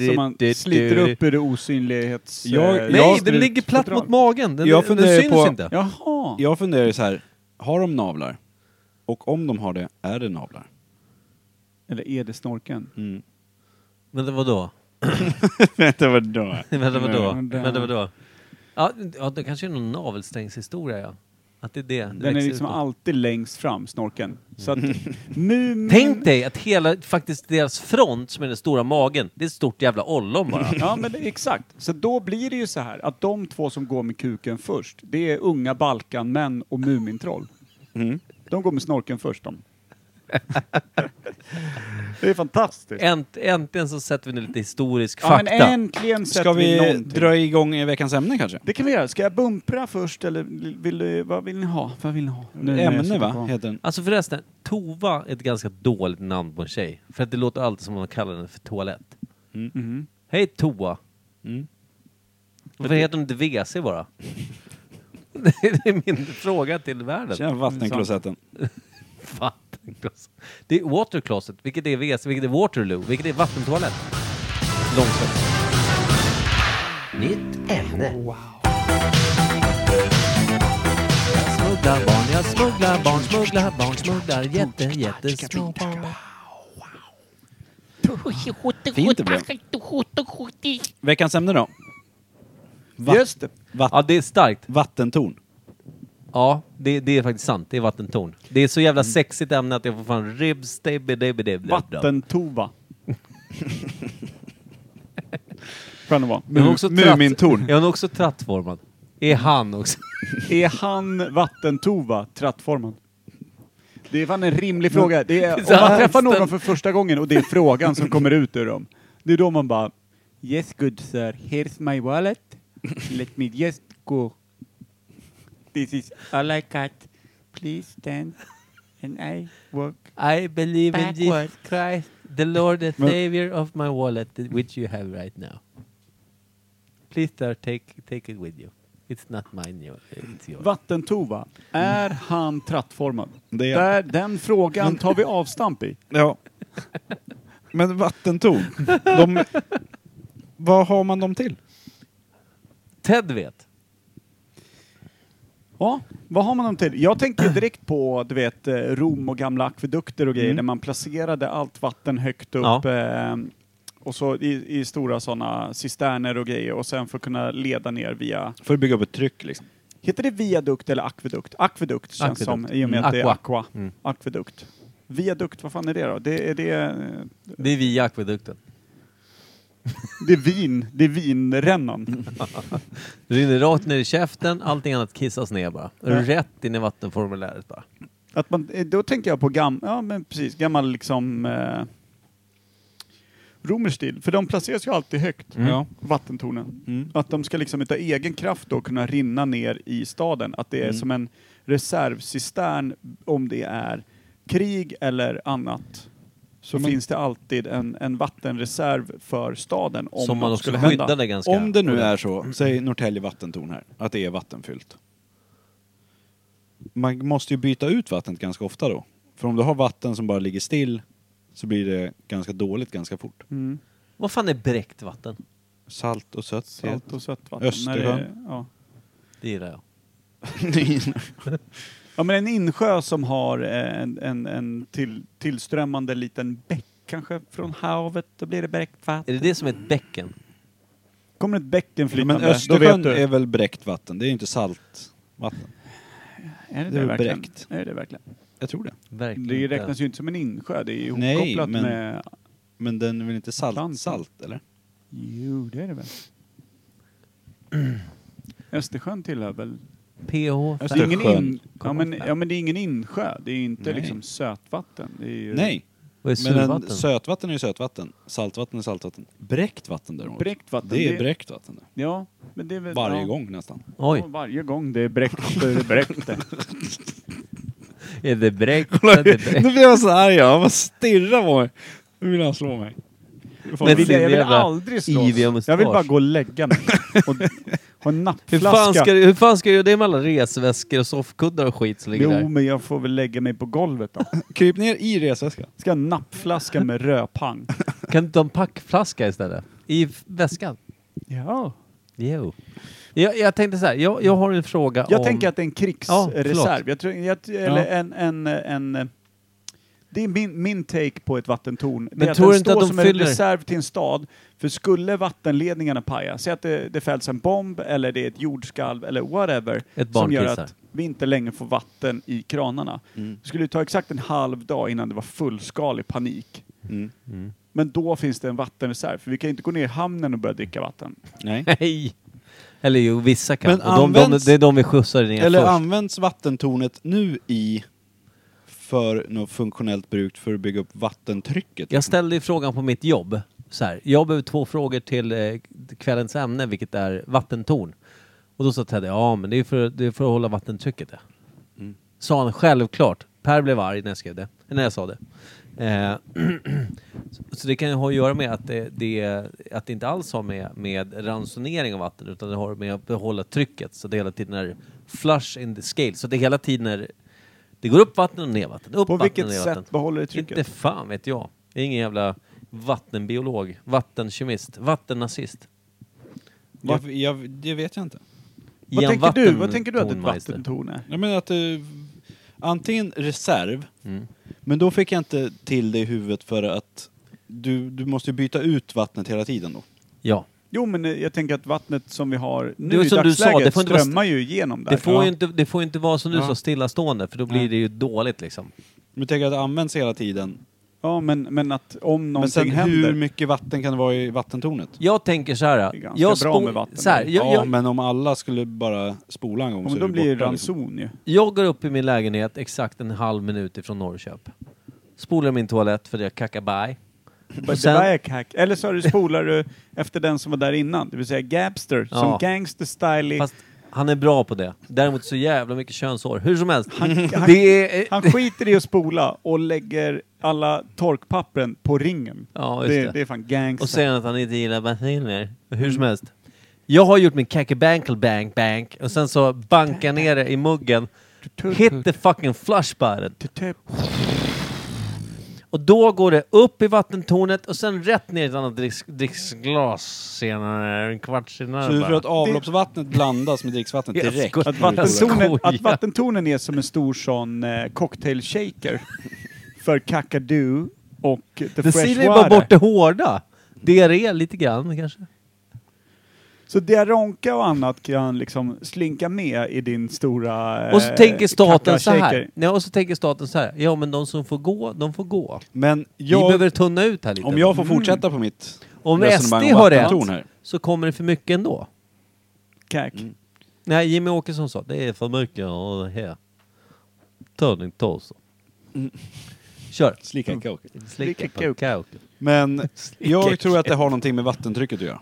C: som man sliter upp ur det osynlighets...
A: Jag-
C: eh,
A: Nej,
D: Nej,
C: strut-
D: den ligger platt
C: fodral.
D: mot magen. Den,
A: Jag
D: den
A: funderar ju
D: syns
A: på-
D: inte.
C: Jaha!
A: Jag funderar ju så här, har de navlar? Och om de har det, är det navlar?
C: Eller är det snorken?
D: Mm, Men det var <laughs> då?
A: Vänta vad då?
D: Men det var då?
C: Men den-
D: Men det var då? Ja, ja, det kanske är någon navelsträngshistoria, ja. Att det är det. det
C: Den är
D: växer
C: liksom
D: ut.
C: alltid längst fram, snorken. Så att Mumin...
D: Tänk dig att hela, faktiskt deras front som är den stora magen, det är ett stort jävla ollon
C: <laughs>
D: bara.
C: Ja men det, exakt. Så då blir det ju så här att de två som går med kuken först, det är unga Balkanmän och Mumintroll.
A: Mm.
C: De går med snorken först de. det är fantastiskt.
D: Änt, äntligen så sätter vi nu lite historisk
C: ja, men
D: fakta.
C: äntligen sätter
A: Ska
C: vi,
A: vi
C: någonting.
A: dra igång i veckans ämne kanske?
C: Det kan vi göra. Ska jag bumpra först eller vill du, vad vill ni ha? Vad vill ni ha? Nu när jag
A: Ämne
C: sitter
A: va,
C: på-
A: heter den.
D: Alltså förresten, Tova är ett ganska dåligt namn på en tjej. För att det låter alltid som om man kallar den för toalett.
C: Mhm.
D: Hej Toa. Varför heter hon inte WC bara? <laughs> det är min fråga till världen.
A: Tjena vattenklosetten.
D: <laughs> Vattenkloset. Det är water closet, vilket är WC, vilket är Waterloo, vilket är vattentoalett. Långsamt.
I: Nytt ämne.
D: Jag smugglar barn, jag smugglar barn, smugglar barn, smugglar jätte, jättesmå barn.
A: Fint det blev. Veckans ämne då? Va-
C: Just det.
A: Vatt-
D: Ja, det är starkt.
A: Vattentorn.
D: Ja, det, det är faktiskt sant. Det är vattentorn. Det är så jävla
A: Mm.
D: sexigt ämne att jag får fan ribs, debbi, debbi, debbi.
A: <laughs>
C: Vattentova. Skön att vara.
D: Jag har också
A: Mu-
D: tratt-
A: Mumintorn.
D: Jag har också trattformad. Är han också?
C: Är han vattentova, trattformad? Det är fan en rimlig fråga. Det är, om man träffar någon för första gången och det är frågan som kommer ut ur dem, det är då man bara Yes good sir, here's my wallet. Let me just go. This is all I got. Please stand. And I walk.
D: I believe in Jesus Christ, the Lord and
C: Men-
D: Savior of my wallet, th- which you have right now. Please, sir, take, take it with you. It's not mine, you- it's yours.
C: Vattentova, är han trattformad?
B: Det är-
C: Där, den frågan tar vi avstamp i.
A: <laughs>
B: Ja. Men vattentorn,
A: <laughs>
B: de... Vad har man dem till?
D: Ted vet.
C: Ja, vad har man dem till? Jag tänkte ju direkt på, du vet, eh, Rom och gamla akvedukter och grejer där man placerade allt vatten högt
D: Mm.
C: upp.
D: Ja.
C: Eh, och så i, i stora sådana cisterner och grejer och sen för att kunna leda ner via,
B: För att bygga upp ett tryck liksom.
C: heter det viadukt eller akvedukt? Akvedukt känns
D: Akvedukt.
C: som, i och med
D: Mm.
C: att det är
D: Aqua.
C: aqua. Akvedukt. Viadukt, vad fan är det då? Det är, det, eh,
D: Det är vi i akvedukten.
C: det är vin, det är vinrännan.
D: Mm. Det rinner rakt ner i käften, allting annat kissas ner bara.
C: Ja.
D: Rätt in i vattenformuläret bara.
C: Att man, eh, då tänker jag på gam, ja, men precis, gammal liksom eh, romersk stil, för de placeras ju alltid högt,
B: Mm. Ja.
C: vattentornen.
B: Mm.
C: Att de ska liksom utav egen kraft då kunna rinna ner i staden, att det är
B: Mm.
C: som en reservcistern om det är krig eller annat. Så
B: Men-
C: finns det alltid en, en vattenreserv för staden om
D: Som man
C: något
D: också
C: skulle hända.
D: skyddade ganska...
B: Om det nu är så, säg Norrtälje vattentorn här, att det är vattenfyllt. Man måste ju byta ut vattnet ganska ofta då. För om du har vatten som bara ligger still så blir det ganska dåligt ganska fort.
C: Mm.
D: Vad fan är bräckt vatten?
B: Salt och <laughs> sött.
C: Salt och sötvatten.
B: Östersjön.
C: När det- ja.
D: Det gillar jag.
C: Ja men en insjö som har eh, en, en, en till, tillströmmande liten bäck kanske från havet, då blir det
D: Är
C: bräckvatten.
D: det det som är ett bäcken?
C: Kommer ett bäcken
B: Ja, men
C: flytande, då vet
B: Östersjön
C: du.
B: är väl bräckt vatten, det är ju inte saltvatten.
C: är det,
B: det
C: det
B: är
C: verkligen?
B: bräckt.
C: Är det det verkligen?
B: Jag tror det.
D: Verkligen
C: Det
D: inte.
C: räknas ju inte som en insjö, det är ju
B: Nej,
C: ihopkopplat
B: men-
C: med...
B: Men den är väl inte
C: Atlanten.
B: salt, salt eller?
C: Jo, det
B: <clears throat>
C: är det väl. Östersjön tillhör väl...
D: PH?
C: Det är ingen in,
B: Östersjön.
C: ja, men, ja men det är ingen insjö, det är ju inte
B: Nej.
C: liksom sötvatten. Det är ju
B: Nej,
D: Vad är
B: men en,
D: survatten?
B: sötvatten är ju sötvatten, saltvatten är saltvatten. Bräckt vatten däremot,
C: bräckt vatten.
B: det är bräckt vatten.
C: Ja, men det är väl...
B: Varje
C: ja.
B: gång nästan.
C: Ja,
D: Oj,
C: varje gång det är bräckt, då är det bräckt. det.
D: är det bräckt? Är det bräckt?
B: Nu blir jag så arg, jag bara stirrar på mig. Nu vill han slå mig.
D: Med
C: vill,
D: sin
C: jag, jag vill
D: jävla
C: aldrig slåss.
D: yviga mustasch.
C: Jag vill bara gå och lägga mig. Och ha en
D: <laughs> Hur fan,
C: nappflaska.
D: ska, du- hur fan ska du göra det med alla resväskor och soffkuddar och skit som ligger
C: Jo,
D: där?
C: men jag får väl lägga mig på golvet då.
B: Kryp ner i resväskan.
C: Ska ha en nappflaska
D: <laughs>
C: med rödpang.
D: Kan du ta en packflaska istället? I f- väskan?
C: Ja.
D: Jo. Jag, jag tänkte så här, jag, jag har en fråga
C: Jag
D: om...
C: tänker att det är en
D: Ja,
C: krigsreserv.
D: förlåt.
C: jag tror, jag, eller en, en, en, eh, det är min, min take på ett vattentorn. Det
D: Men
C: är att
D: tror
C: den
D: du inte
C: står
D: att de
C: som
D: fyller-
C: en reserv till en stad. För skulle vattenledningarna paja, säg att det, det fälls en bomb eller det är ett jordskalv eller whatever.
D: Ett barn
C: som gör
D: kissar.
C: att vi inte längre får vatten i kranarna.
D: Mm.
C: Det skulle ta exakt en halv dag innan det var fullskalig panik.
B: Mm.
C: Men då finns det en vattenreserv, för vi kan ju inte gå ner i hamnen och börja dricka vatten.
B: Nej.
D: <laughs> Nej! Eller jo, vissa kan.
B: Men
D: och de, de,
B: används-
D: det är de vi skjutsar ner
B: Eller
D: först.
B: används vattentornet nu i för något funktionellt bruk för att bygga upp vattentrycket?
D: Jag ställde ju frågan på mitt jobb. Så här, jag behöver två frågor till eh, kvällens ämne, vilket är vattentorn. Och då sa Ted, ja men det är för, det är för att hålla vattentrycket det. Sa han självklart. Per blev arg när jag skrev det, när jag sa det. Eh, <clears throat> så det kan ju ha att göra med att det, det, att det inte alls har med, med ransonering av vatten utan det har med att behålla trycket så det hela tiden är flush in the scale. Så det hela tiden är, det går upp vatten och ner vatten. Upp
C: På
D: vatten
C: vilket
D: och ner
C: sätt
D: vatten.
C: behåller det trycket?
D: Inte fan vet jag. Jag är ingen jävla vattenbiolog, vattenkemist, vattennazist.
B: jag, jag, det vet jag inte.
C: Vad
D: Ian
C: tänker, du, vad tänker du att ett
D: Vattentornmeister.
C: vattentorn är?
B: Jag menar att eh, antingen reserv, men då fick jag inte till det i huvudet för att du, du måste ju byta ut vattnet hela tiden då.
D: Ja.
C: Jo, men eh, jag tänker att vattnet som vi har nu
D: Det är
C: i
D: som du sa,
C: dagsläget
D: det får inte vara st-
C: strömmar ju igenom där.
D: Det får,
C: Ja.
D: ju inte, det får ju inte vara som du
B: Ja.
D: sa, stillastående för då blir
B: Nej.
D: det ju dåligt liksom.
B: Men tänk att det används hela tiden.
C: Ja, men, men att om
B: Men sen
C: någonting händer...
B: hur mycket vatten kan det vara i vattentornet?
D: Jag tänker så här.
C: Det är ganska
D: Jag,
C: bra
D: spol-
C: med vatten.
D: så här, jag,
B: ja,
D: jag,
B: men om alla skulle bara spola en gång
C: ja,
B: så
C: men
B: är
C: då
B: det
C: blir det
B: borta, liksom.
C: ranson ju.
D: jag går upp i min lägenhet exakt en halv minut ifrån Norrköp. Spolar min toalett för jag kackar baj.
C: But
D: sen-
C: the Bayek hack. Eller så har du- spolar du efter den som var där innan, det vill säga Gabster,
D: Ja.
C: som gangster stylig.
D: Fast han är bra på det. Däremot så jävla mycket könshår. Hur som helst.
C: <laughs> han-
D: det är...
C: Han skiter i att spola och lägger alla torkpappren på ringen.
D: Ja, just
C: det,
D: det.
C: det. är fan gangster.
D: Och säger att han inte gillar basilier. Hur som helst. Jag har gjort min kackerbankel bank bank och sen så bankar jag ner det i muggen. Hit the fucking flush button.
C: typ
D: Och då går det upp i vattentornet och sen rätt ner i ett annat dricks- dricksglas senare, en kvart senare
B: Så du
D: bara.
B: tror att avloppsvattnet blandas med dricksvattnet
D: Jag
B: direkt?
D: skojar.
C: Att vattentornen,
D: skojar.
C: att vattentornen är som en stor sån eh, cocktail-shaker för kakadu och the,
D: Det
C: fresh
D: silar ju bara
C: water.
D: bort det hårda. Diarré lite grann kanske.
C: Så diaronka och annat kan liksom slinka med i din stora eh,
D: Och så tänker staten så här.
C: kakashaker.
D: Nej, och så tänker staten så här. Ja, men de som får gå, de får gå.
B: Men
D: Vi
B: jag,
D: behöver tunna ut här lite.
B: om jag får fortsätta på mitt
D: Om SD
B: resonemang
D: har
B: vattentorn
D: rätt
B: här.
D: så kommer det för mycket ändå.
C: Kack.
D: Mm. Nej, Jimmy Åkesson sa det är för mycket och det här. Turning torso. Kör.
B: Mm. Slicka kåk.
D: Slicka
C: Slicka
D: på kauken.
B: Mm. Men jag tror att det har någonting med vattentrycket att göra.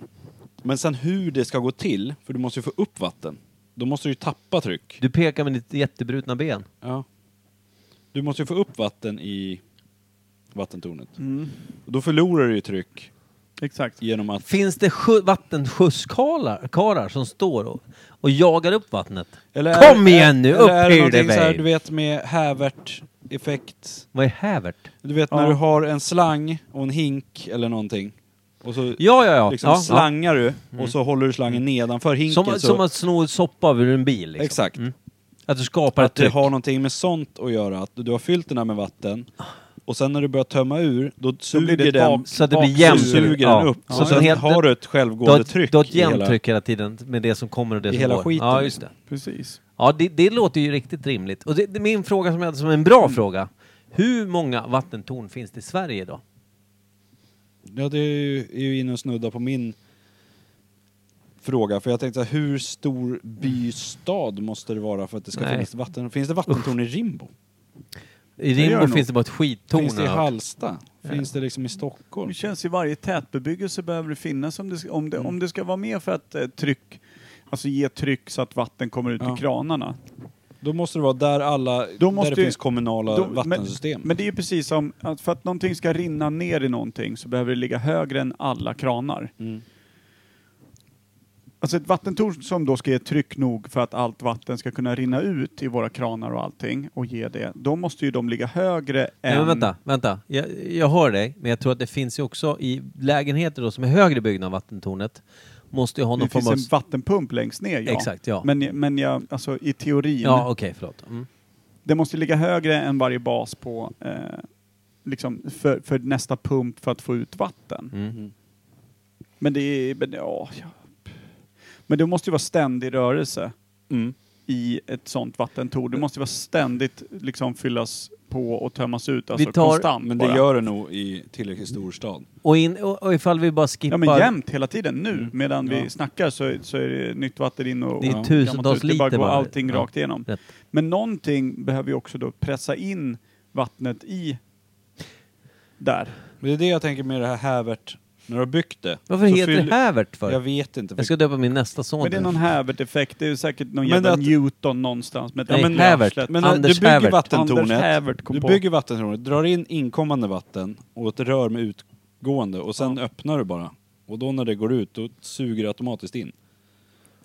B: Men sen hur det ska gå till, för du måste ju få upp vatten. Då måste du ju tappa tryck.
D: Du pekar med ditt jättebrutna ben.
B: Ja. Du måste ju få upp vatten i vattentornet. Och då förlorar du ju tryck
C: Exakt.
B: genom att...
D: Finns det sjö- vattenskjutskarar karar som står och, och jagar upp vattnet?
B: Eller
D: Kom igen nu,
B: eller
D: upp
B: är
D: ur
B: det
D: dig,
B: någonting så här,
D: babe.
B: du vet med hävert-effekt?
D: Vad är hävert?
B: Du vet när du har en slang och en hink eller någonting. Och så
D: Ja, ja, ja.
B: liksom
D: ja,
B: slangar du och så håller du slangen nedanför
D: ja.
B: hinken.
D: Som,
B: så,
D: som att sno soppa ur en bil. Liksom.
B: Exakt.
D: Att du skapar ett
B: Att det
D: tryck.
B: har någonting med sånt att göra. Att du har fyllt den här med vatten och sen när du börjar tömma ur, då suger
C: blir det ett
B: den,
C: bak-
D: Så att det blir
B: så
D: jämnt.
B: suger
D: Ja.
B: den upp.
D: Ja.
B: Så
D: Ja.
B: sen
D: Den helt-
B: har du ett
D: Du har,
B: självgående
D: ett-
B: tryck.
D: du har ett
B: i hela-
D: jämnt tryck hela tiden med det som kommer och det
B: I
D: som
B: hela
D: går.
B: skiten.
D: Ja, just det.
C: Precis.
D: Ja, det, det låter ju riktigt rimligt. Och det, det, min fråga som jag hade som en bra fråga. Hur många vattentorn finns det i Sverige idag?
B: Ja, det är ju, är ju inne och snuddar på min fråga. För jag tänkte så här, hur stor bystad måste det vara för att det ska
D: Nej.
B: finnas vatten? Finns det vattentorn i Rimbo?
D: I
C: gör
D: Rimbo
C: nog.
D: finns det bara ett skittorn.
B: Finns det i
D: har jag hört.
B: Hallsta? Finns det liksom i Stockholm?
C: Det känns i varje tätbebyggelse behöver det finnas om det, ska- om det,
D: Mm.
C: om det ska vara med för att eh, tryck, alltså ge tryck så att vatten kommer ut
B: Ja.
C: i kranarna.
B: Då måste det vara där alla,
C: måste
B: där det
C: ju-
B: finns kommunala
C: Då-
B: vattensystem.
C: Men, men det är ju precis som att för att någonting ska rinna ner i någonting så behöver det ligga högre än alla kranar.
B: Mm.
C: Alltså ett vattentorn som då ska ge tryck nog för att allt vatten ska kunna rinna ut i våra kranar och allting och ge det, då måste ju de ligga högre
D: Nej,
C: än...
D: men vänta, vänta. Jag, jag hör dig, men jag tror att det finns ju också i lägenheter då som är högre byggda än vattentornet. Måste ju ha någon
C: Det
D: form
C: finns
D: av...
C: en vattenpump längst ner, ja.
D: Exakt, ja.
C: Men, men jag, alltså i teorin,
D: ja, okej, förlåt. Mm.
C: det måste ligga högre än varje bas på, eh, liksom för, för nästa pump för att få ut vatten.
B: Mm-hmm.
D: Mm.
C: Men det är, men, ja, ja. men det måste ju vara ständig rörelse
B: Mm.
C: i ett sånt vattentorn. Det måste ju vara ständigt liksom fyllas på och tömmas ut, alltså
D: Vi tar-
C: konstant
B: Men
C: bara.
B: det gör det nog i tillräckligt stor stad.
D: Och, in, och, och ifall vi bara skippar...
C: Ja men jämt hela tiden nu
B: Mm.
C: medan
B: Ja.
C: vi snackar så, så är det nytt vatten in och
D: Det är
C: och
D: tusentals
C: gammalt ut. Det bara
D: liter
C: går
D: bara.
C: allting
D: Ja.
C: rakt igenom.
D: Rätt.
C: Men någonting behöver ju också då pressa in vattnet i där.
B: Men det är det jag tänker med det här hävert. När du har byggt det.
D: Varför
B: så
D: heter
B: fyll-
D: det hävert för?
B: Jag
D: Jag,
B: vet inte.
D: ska döpa min nästa son
C: Men det är
D: till
C: någon Hävert-effekt, det är ju säkert någon
B: Men
C: jävla
B: att-
C: Newton någonstans med ett
D: Nej,
C: jävla
D: Hävert.
C: arslet.
B: Men eh,
D: Anders
B: du bygger
D: Hävert.
B: vattentornet.
C: Anders Hävert kom
B: Du
C: på.
B: bygger vattentornet, drar in inkommande vatten och ett rör med utgående och sen öppnar du bara. Och då när det går ut, då suger det automatiskt in.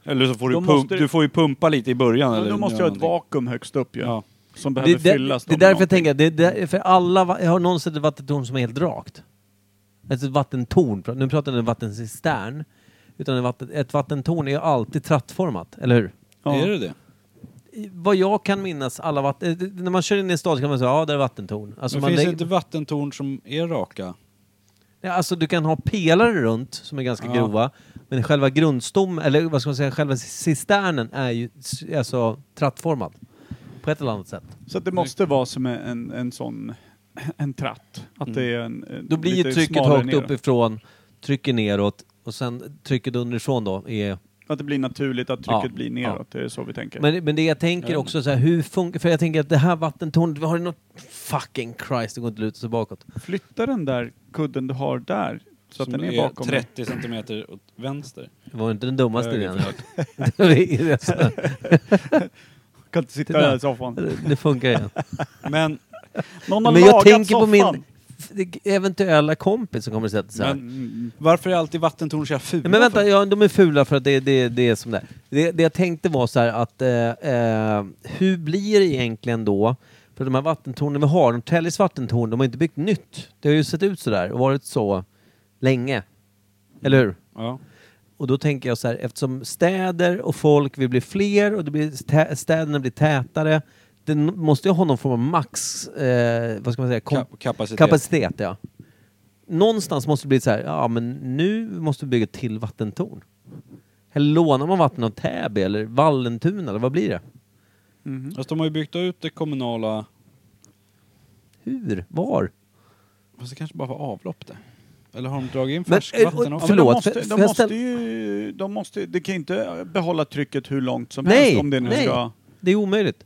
B: Eller så får du,
C: Då
B: pump,
C: måste du-
B: du får ju pumpa lite i början.
C: Men
B: eller
C: då måste
B: göra
C: jag ha ett
B: någonting.
C: vakuum högst upp ju.
B: Ja.
C: Som
D: Det,
C: behöver
D: är där-
C: fyllas.
D: det är
C: då med
D: därför jag
C: någonting.
D: tänker, det är där, för alla, va- har någon sett ett vattentorn som är helt rakt? Alltså ett vattentorn, pra- nu pratar jag om en vattencistern. Utan ett, vatten, ett vattentorn är ju alltid trattformat, eller hur?
C: Ja.
B: Är det det?
D: Alltså I- Vad jag kan minnas, alla vatten, eh, när man kör in i en stad så kan man säga ja, där är vattentorn. Alltså,
B: Men
D: man,
B: finns
D: lägger-
B: det inte vattentorn som är raka?
D: Ja, alltså du kan ha pelare runt som är ganska
B: Ja.
D: grova. Men själva grundstommen, eller vad ska man säga, själva cisternen är ju s- alltså trattformad. På ett eller annat sätt.
C: Så att det måste vara som en, en, en sån, en tratt. Att det är en, en
D: Mm. Då blir ju
C: lite
D: trycket
C: smalare
D: högt
C: neråt.
D: uppifrån, trycker neråt och sen trycket underifrån då är
C: Att det blir naturligt att trycket
D: Ja,
C: blir neråt, det är så vi tänker.
D: Men, men det jag tänker också så här, hur funkar... För jag tänker att det här vattentornet, vi har ju något... Fucking Christ, det går inte att luta sig bakåt.
C: Flytta den där kudden du har där, så att
B: Som
C: den är bakom.
B: 30 centimeter åt vänster.
D: Det var inte den dummaste
B: Höger,
D: idén jag <laughs> hört.
C: Kan inte sitta
D: Titta.
C: där i soffan.
D: det funkar ju.
B: Men,
C: Någon har
D: Men jag
C: lagat
D: tänker på
C: soffan!
D: min f- eventuella kompis som kommer sätta sig här.
B: men varför är alltid vattentorn så jävla fula?
D: Nej, men vänta,
B: för?
D: ja, de är fula för att det, det, det är som det är. Det, det jag tänkte var så här att eh, eh, hur blir det egentligen då? För de här vattentornen vi har, de Tellis vattentorn, de har inte byggt nytt. Det har ju sett ut så där och varit så länge. Eller hur?
B: Ja.
D: Och då tänker jag så här, eftersom städer och folk vill bli fler och det blir tä- städerna blir tätare, det n- måste ju ha någon form av max, eh, vad ska man säga, kom-
B: Kap- kapacitet.
D: kapacitet. ja. Någonstans måste det bli så här, ja men nu måste vi bygga ett till vattentorn. Eller lånar man vatten av Täby eller Vallentuna eller vad blir det?
B: Fast de har ju byggt ut det kommunala...
D: Hur? Var?
B: Fast det kanske bara var avlopp det. Eller har de dragit in
D: Men,
B: färskvatten
D: eh,
B: också?
C: Ja, men de
D: Förlåt,
C: måste,
D: för-
C: de
D: för jag
C: måste
D: ställ-
C: ju... De måste, det kan ju inte behålla trycket hur långt som helst
D: Nej,
C: om det nu
D: nej.
C: ska...
D: Det är omöjligt.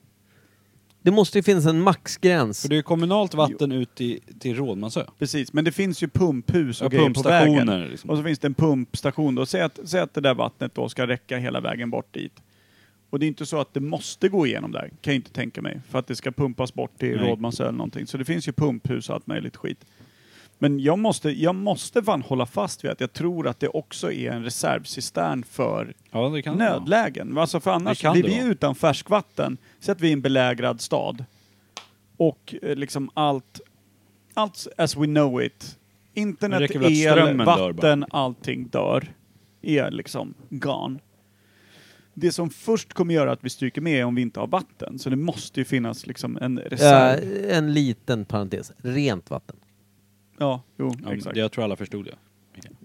D: Det måste ju finnas en maxgräns.
B: För det är ju kommunalt vatten ut i, till Rådmansö.
C: Precis, men det finns ju pumphus och
B: Ja,
C: grejer på
B: pumpstationer,
C: vägen.
B: liksom.
C: Och så finns det en pumpstation då. Säg att, säg att det där vattnet då ska räcka hela vägen bort dit. Och det är inte så att det måste gå igenom där, kan jag inte tänka mig. För att det ska pumpas bort till
B: Nej.
C: Rådmansö eller någonting. Så det finns ju pumphus och allt möjligt skit. Men jag måste, jag måste fan hålla fast vid att jag tror att det också är en reservcistern för
B: Ja, det kan det vara.
C: nödlägen. Alltså för annars
B: Det kan
C: blir
B: det
C: vi
B: vara.
C: utan färskvatten. Så att vi är i en belägrad stad. Och eh, liksom allt, allt as we know it.
B: Det
C: Internet,
B: räcker väl att
C: el,
B: strömmen dör
C: vatten, allting dör. Är liksom gone. Det som först kommer göra att vi stryker med är om vi inte har vatten. Så det måste ju finnas liksom en
D: Eh,
C: reserv.
D: en liten parentes. Rent vatten.
C: Ja, jo,
B: Ja, men
C: exakt.
B: jag tror alla förstod det.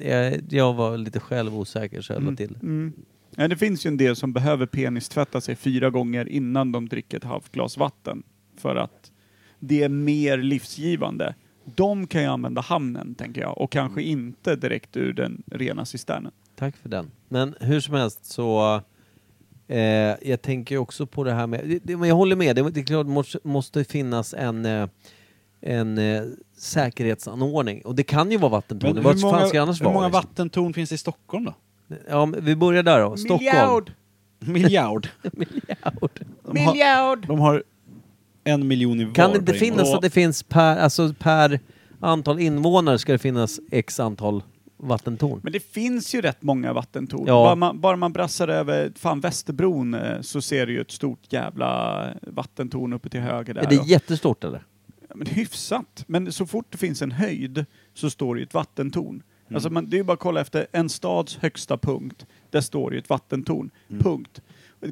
D: Jag, Eh, jag var lite själv osäker så jag la till.
C: Mm. Ja, det finns ju en del som behöver penistvätta sig fyra gånger innan de dricker ett halvt glas vatten. För att det är mer livsgivande. De kan ju använda hamnen, tänker jag. Och kanske
D: Mm.
C: inte direkt ur den rena cisternen.
D: Tack för den. Men hur som helst så... Eh, jag tänker ju också på det här med... Det, det, men jag håller med. Det, det är klart måste, måste finnas en, eh, en eh, säkerhetsanordning. Och det kan ju vara vattentorn.
B: Men
D: Vad fan ska det annars
B: hur många
D: vara? liksom?
B: vattentorn finns i Stockholm då? <laughs>
D: Ja, men vi börjar där då. Stockholm.
B: Miljard. De har,
D: Miljard.
B: de har en miljon i var.
D: Kan det inte
B: på
D: finnas
B: invånare.
D: att det finns per, alltså per antal invånare ska det finnas x antal vattentorn?
C: Men det finns ju rätt många vattentorn.
D: Ja.
C: Bara, man, bara man brassar över fan Västerbron eh, så ser du ju ett stort jävla vattentorn uppe till höger där.
D: Är det
C: Och-
D: jättestort eller?
C: Ja, men hyfsat. Men så fort det finns en höjd så står det ju ett vattentorn.
D: Mm.
C: Alltså man, det är ju bara att kolla efter en stads högsta punkt. Där står det ju ett vattentorn.
D: Mm.
C: Punkt.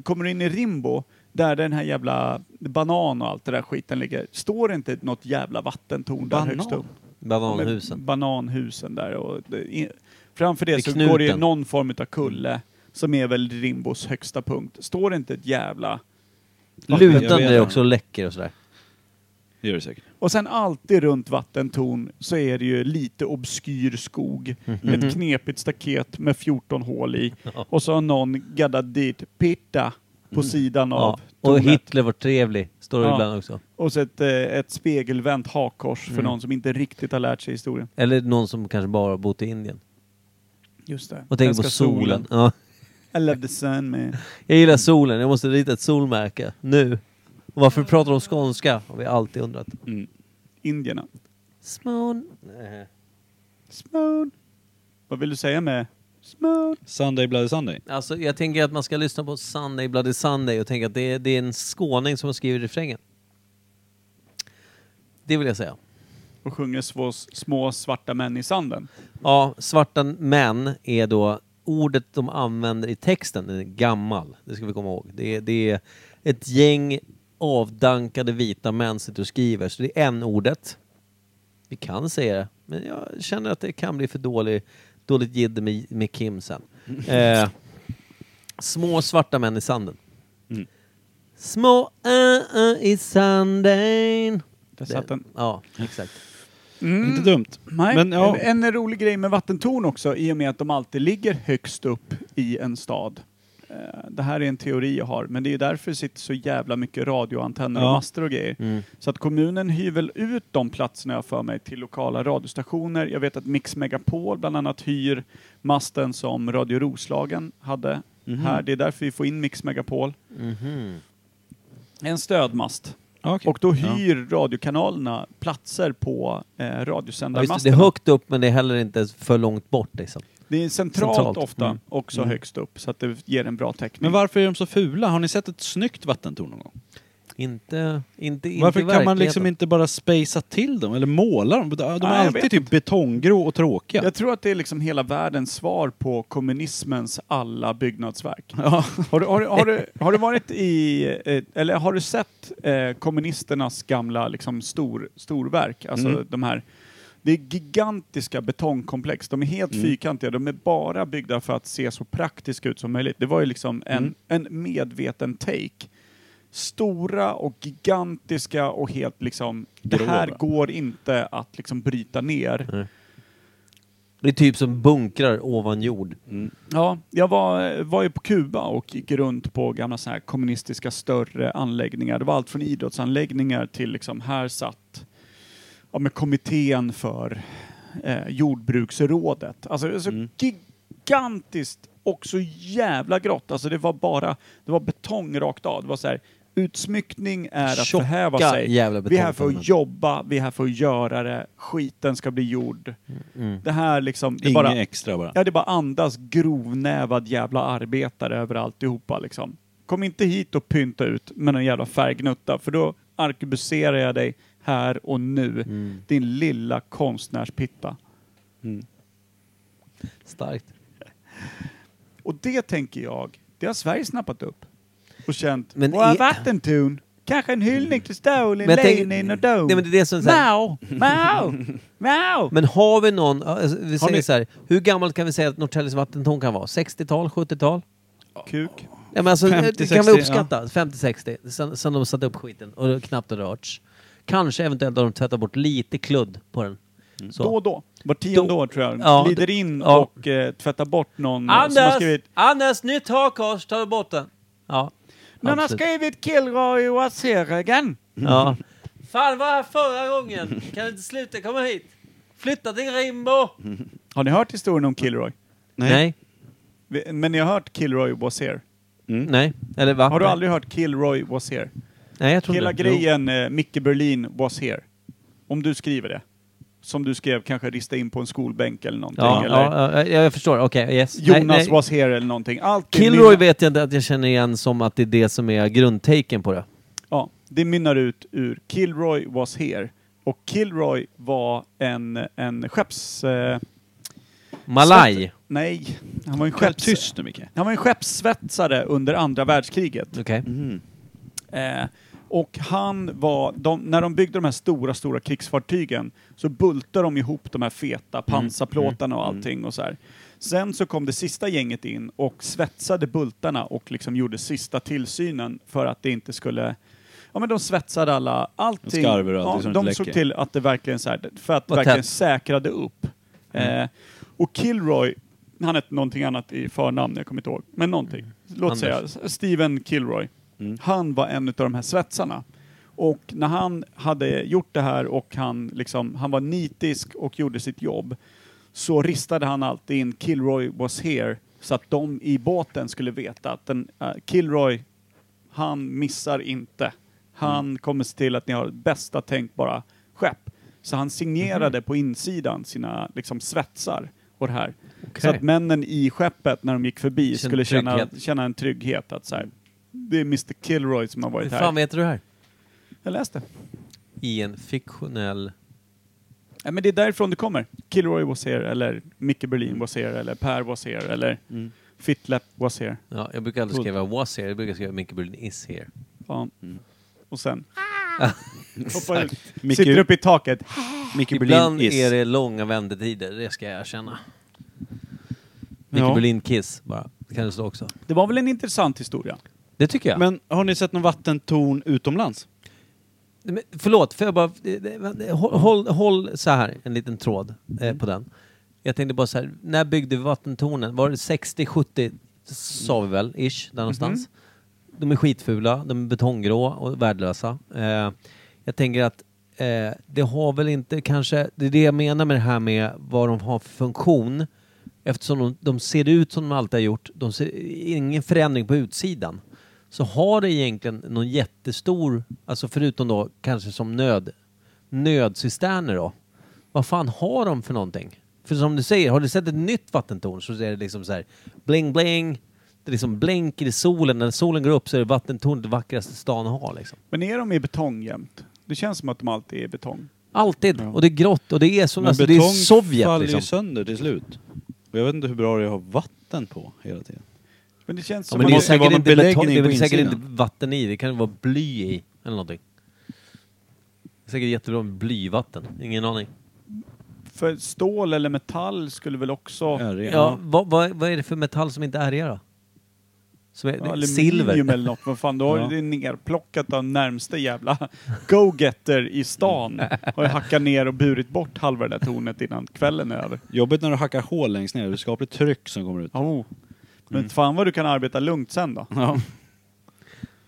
C: Kommer du in i Rimbo, där den här jävla banan och allt det där skiten ligger, står det inte något jävla vattentorn där
B: Banan?
C: högst upp?
D: Bananhusen.
C: Med bananhusen där. Och det, i, framför det
D: Vid
C: så
D: knuten.
C: går det ju någon form av kulle som är väl Rimbos högsta punkt. Står det inte ett jävla...
D: Lutar
B: Jag
D: det
B: vet
D: också och läcker och sådär?
B: Det gör det säkert.
C: Och sen alltid runt vattentorn så är det ju lite obskyr skog.
D: Mhm.
C: Ett knepigt staket med 14
D: <laughs>
C: hål i. Och så har någon gaddat dit pitta på sidan
D: Mm. Ja.
C: av
D: Och
C: tornet.
D: Hitler var trevlig, står det
C: Ja.
D: ibland också.
C: Och så ett, eh, ett spegelvänt hakkors för
D: Mm.
C: någon som inte riktigt har lärt sig historien.
D: Eller någon som kanske bara har bott i Indien.
C: Just det.
D: Och tänker
C: Älskar
D: på solen. Ja.
C: I love the
D: <laughs>
C: sun man.
D: Jag gillar solen, jag måste rita ett solmärke. Nu. Och varför pratar de skånska? Har vi alltid undrat.
C: Indierna.
D: Smån. Eh,
C: Smoon. Vad vill du säga med Smoon?
B: Sunday Bloody Sunday.
D: Alltså jag tänker att man ska lyssna på Sunday Bloody Sunday och tänka att det är, det är en skåning som har skrivit refrängen. Det vill jag säga.
C: Och sjunger små, små svarta män i sanden.
D: Ja, svarta män är då ordet de använder i texten. Den är gammal, det ska vi komma ihåg. Det är, det är ett gäng avdankade vita män sitter och skriver, så det är en ordet Vi kan säga det, men jag känner att det kan bli för dålig, dåligt jidder med, med Kim
C: <laughs>
D: sen. Eh, små svarta män i sanden.
C: Mm.
D: Små ö, ö i sanden.
C: Där satt den.
D: Ja, exakt. Mm.
C: Mm.
B: Inte dumt.
C: Nej,
B: Men, ja.
C: en, en rolig grej med vattentorn också, i och med att de alltid ligger högst upp i en stad. eh, det här är en teori jag har, men det är ju därför det sitter så jävla mycket radioantenner och
B: Ja.
C: master och grejer. Så att kommunen hyr väl ut de platserna jag har för mig till lokala radiostationer. Jag vet att Mix Megapol bland annat hyr masten som Radio Roslagen hade här.
B: Mhm.
C: Det är därför vi får in Mix Megapol. En stödmast. Och då hyr radiokanalerna platser på eh,
D: Ja, visst, det
C: radiosändarmasterna.
D: är högt upp men det är heller inte för långt bort liksom.
C: Det är centralt,
D: Centralt.
C: ofta,
D: Mm.
C: också högst upp, så att det ger en bra täckning.
B: Men varför är de så fula? Har ni sett ett snyggt vattentorn någon gång?
D: Inte, inte, inte
B: Varför
D: i
B: kan man liksom
D: verkligheten.
B: inte bara spacea till dem eller måla dem? De de är
C: Nej, jag
B: alltid
C: vet
B: typ betonggrå och tråkiga.
C: Jag tror att det är liksom hela världens svar på kommunismens alla byggnadsverk. <laughs> Har, du, har, du, har, du, har du varit i, eh, eller har du sett eh, kommunisternas gamla liksom stor, storverk? Alltså
B: Mm.
C: de här, det är gigantiska betongkomplex. De är helt
B: Mm.
C: fyrkantiga. De är bara byggda för att se så praktiska ut som möjligt. Det var ju liksom en,
B: Mm.
C: en medveten take. Stora och gigantiska och helt liksom, det här
B: Grova.
C: går inte att liksom bryta ner.
D: Det är typ som bunkrar ovan jord.
C: Ja, jag var, var ju på Kuba och gick runt på gamla så här kommunistiska större anläggningar. Det var allt från idrottsanläggningar till liksom här satt ja, med kommittén för eh, jordbruksrådet. Alltså det var så
D: Mm.
C: gigantiskt och så jävla grått. Alltså det var bara, det var betong rakt av. Det var så här, utsmyckning är att
D: Tjocka
C: förhäva sig.
D: jävla
C: vi är här för
D: betongpannor.
C: att jobba, vi är här för att göra det, skiten ska bli gjord.
D: Mm.
C: Det här liksom, det
B: Inget
C: bara
B: extra bara.
C: Ja, det bara andas grovnävad jävla arbetare över alltihopa liksom. Kom inte hit och pynta ut med en jävla färggnutta för då arkebuserar jag dig här och nu.
D: Mm.
C: Din lilla konstnärspitta.
D: Starkt.
C: Och det tänker jag, det har Sverige snappat upp. Och känt,
D: Men
C: våra
D: i-
C: vattentorn, kanske en hyllning till Stalin,
D: Men jag tänker-
C: Lenin och Dom.
D: Nej, men det är det som är så här-
C: Mao, Mao, Mao!
D: Men har vi någon, alltså, vi säger
B: ni-
D: så här, hur gammalt kan vi säga att Norrtäljes vattentorn kan vara? 60-tal, 70-tal?
C: Kuk.
D: Ja, men alltså,
B: 50,
D: det kan
B: 60,
D: vi uppskatta. 50-60, sen, sen de satte upp skiten och det knappt har rörts. Kanske eventuellt har de tvättat bort lite kludd på den. Så.
C: Då och då. Var tionde
D: Då-
C: år tror jag.
D: Ja,
C: Glider
D: det-
C: in
D: ja.
C: och eh, tvättar bort någon eh, som har
D: Anders!
C: skrivit
D: Anders, nytt hakkors, ta bort den! Ja.
C: Någon har
D: absolut.
C: skrivit Kilroy och Aserigen.
D: <laughs> Ja. Fan, var här förra gången! Kan du inte sluta komma hit? Flytta till Rimbo!
C: Har ni hört historien om Kilroy?
D: Nej.
C: Vi- Men ni har hört Kilroy was here?
D: Nej. Eller va?
C: Har du aldrig hört Kilroy was here?
D: Nej, jag tror
C: Hela
D: inte.
C: grejen eh, Micke Berlin was here. Om du skriver det. Som du skrev, kanske rista in på en skolbänk eller någonting.
D: Ja,
C: eller
D: ja, ja, jag förstår. Okej, yes. Nej,
C: Jonas
D: nej.
C: was here eller någonting. Allt det
D: Kilroy
C: mynnar-
D: vet jag inte att jag känner igen som att det är det som är grundtaken på det.
C: Ja, det mynnar ut ur Kilroy was here. Och Kilroy var en, en skepps... Eh,
D: Malaj.
C: nej, han var en
B: Själv
C: skepps...
B: tyst nu Micke.
C: Han var en skeppssvetsare under andra världskriget.
D: Okej.
C: Eh, och han var, de, när de byggde de här stora, stora krigsfartygen så bultade de ihop de här
B: Mm.
C: feta pansarplåtarna och allting och så här. Sen så kom det sista gänget in och svetsade bultarna och liksom gjorde sista tillsynen för att det inte skulle Ja men de svetsade alla, allting.
B: Skarver och allting
C: ja,
B: som
C: de
B: inte
C: såg
B: läcker.
C: till att det verkligen så här, för att
D: Var
C: verkligen
D: tätt.
C: säkrade upp. Eh, och Kilroy, han hette någonting annat i förnamn, jag kommer inte ihåg, men någonting. Låt
D: Anders.
C: säga S- Steven Kilroy. Han var en av de här svetsarna. Och när han hade gjort det här och han, liksom, han var nitisk och gjorde sitt jobb så ristade han alltid in Kilroy was here så att de i båten skulle veta att den, eh, Kilroy, han missar inte. Han kommer se till att ni har bästa tänkbara skepp. Så han signerade på insidan sina liksom, svetsar och det här. Så att männen i skeppet när de gick förbi
D: Kände
C: skulle känna,
D: trygghet.
C: känna en trygghet att så här, det är Mr Kilroy som har
D: Hur
C: varit här.
D: fan vet du det här?
C: Jag läste.
D: I en fiktionell...
C: Nej, men det är därifrån det kommer. Kilroy was here, eller Micke Berlin was here, eller Per was here, eller Fittlep was here.
D: Ja, jag brukar aldrig skriva was here, jag brukar skriva Micke Berlin is here.
C: Ja. Och sen hoppar
D: Exakt.
C: ut. Sitter upp i taket.
B: Micke
D: Ibland
B: Berlin is.
D: är det långa vändetider, det ska jag erkänna. Micke
C: Ja.
D: Berlin kiss bara. Det kan det stå också.
C: Det var väl en intressant historia?
D: Det tycker jag.
B: Men har ni sett någon vattentorn utomlands?
D: Men, förlåt, för jag bara... eh, eh, Håll, håll, håll så här, en liten
B: Mm.
D: tråd eh, på den. Jag tänkte bara så här, när byggde vi vattentornen? Var det 60, 70, sa vi väl, ish, där någonstans.
B: Mm-hmm.
D: De är skitfula, de är betonggrå och värdelösa. Eh, jag tänker att eh, det har väl inte kanske, det är det jag menar med det här med vad de har för funktion. Eftersom de, de ser ut som de alltid har gjort, de ser ingen förändring på utsidan. Så har det egentligen någon jättestor, alltså förutom då kanske som nöd, nödcisterner då. Vad fan har de för någonting? För som du säger, har du sett ett nytt vattentorn så är det liksom så här bling bling. Det liksom blänker i solen. När solen går upp så är det vattentornet det vackraste stan har liksom.
C: Men är de i betong jämt? Det känns som att de alltid är i betong.
D: Alltid. Och det är grått och det är som,
B: Men
D: alltså, det är
B: betong
D: Sovjet
B: faller
D: liksom.
B: ju sönder till slut. Och jag vet inte hur bra det är att ha vatten på hela tiden.
C: Men det känns
D: Ja,
C: som
D: men
C: att
D: det är
B: måste ju
D: säkert,
B: vara
D: inte,
B: någon
D: betong, det
B: beläggning
D: är väl
B: på
D: säkert inte
B: insidan.
D: vatten i. Det kan vara bly i eller någonting. Det är säkert jättebra med blyvatten. Ingen aning.
C: för stål eller metall skulle väl också...
B: Är det-
D: Ja, vad, vad, vad är det för metall som inte är det då? Som är,
C: Ja,
D: silver?
C: Aluminium eller något, vad fan, då har
B: Ja.
C: det nerplockat av närmsta jävla go-getter
D: <laughs>
C: i stan. Har ju hackat ner och burit bort halva det där tornet innan kvällen är över.
B: Jobbigt när du hackar hål längst ner. Det är skapligt tryck som kommer ut.
C: Oh. Men
D: Mm.
C: fan vad du kan arbeta lugnt sen då.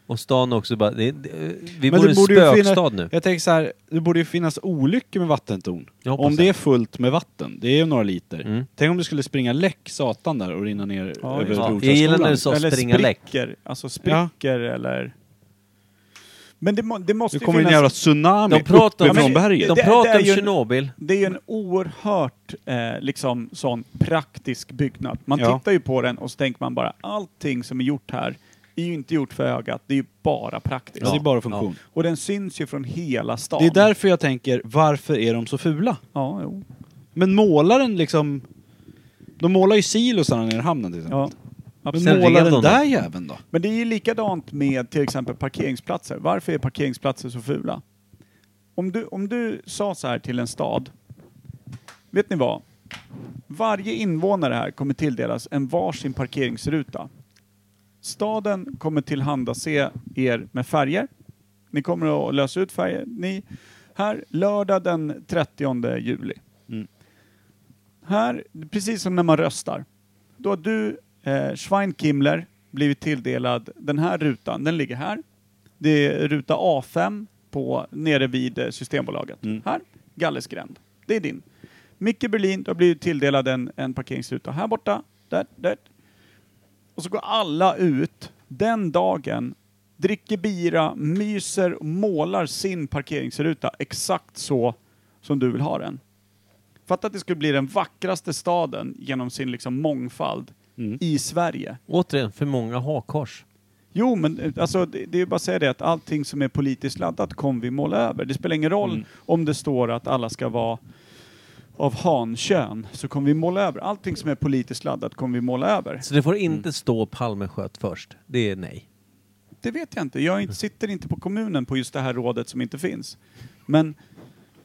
D: Och stan också bara, det, det, vi
B: Men
D: bor i en
B: det borde ju finnas-
D: spökstad nu.
B: Jag tänker så här, det borde ju finnas olyckor med vattentorn.
D: Jag hoppas
B: Om det
D: det.
B: är fullt med vatten, det är ju några liter.
D: Mm.
B: Tänk om det skulle springa läck satan där och rinna ner
C: Ja,
B: över
C: just det.
B: Brorshagsskolan.
D: Jag gillar när du sa
C: eller
D: springa läck.
C: spricker. Alltså spricker eller... Men det, må, det måste
B: Nu
C: ju
B: kommer en
C: finnas...
B: jävla tsunami
D: De pratar,
B: uppifrån
C: Ja, men-
B: berget.
D: de
C: Det- det är
D: pratar om
C: ju en-
D: Tjernobyl.
C: Det är ju en oerhört eh, liksom sån praktisk byggnad. Man
B: Ja.
C: tittar ju på den och så tänker man bara allting som är gjort här är ju inte gjort för ögat, det är ju bara praktiskt.
B: Ja, det är bara funktion.
C: Och den syns ju från hela stan.
B: Det är därför jag tänker, varför är de så fula?
C: Ja, jo.
B: Men målaren liksom... De målar ju silosarna nere i hamnen till exempel.
C: Ja.
B: Men
D: Sen
B: målar
D: rev
B: den
D: de
B: där jäveln då?
C: Men det är ju likadant med till exempel parkeringsplatser. Varför är parkeringsplatser så fula? Om du, om du sa så här till en stad. Vet ni vad? Varje invånare här kommer tilldelas en varsin parkeringsruta. Staden kommer tillhandase er med färger. Ni kommer att lösa ut färger. Ni, här, lördag den 30 juli. Här, precis som när man röstar. Då har du, eh, Schweinkimler, blivit tilldelad den här rutan. Den ligger här. Det är ruta A5 på, nere vid eh, Systembolaget. Här, Gallersgränd. Det är din. Micke Berlin, du har blivit tilldelad en, en parkeringsruta här borta. Där, där. Och så går alla ut den dagen, dricker bira, myser och målar sin parkeringsruta exakt så som du vill ha den. Fatta att det skulle bli den vackraste staden genom sin liksom mångfald
D: Mm.
C: i Sverige.
D: Återigen, för många hakkors.
C: Jo, men eh, alltså, det, det är bara att säga det att allting som är politiskt laddat kommer vi måla över. Det spelar ingen
D: Mm.
C: roll om det står att alla ska vara av hankön, så kommer vi måla över. Allting som är politiskt laddat kommer vi måla över.
D: Så det får inte stå Palme sköt först. Det är nej.
C: Det vet jag inte. Jag är inte, sitter inte på kommunen på just det här rådet som inte finns. Men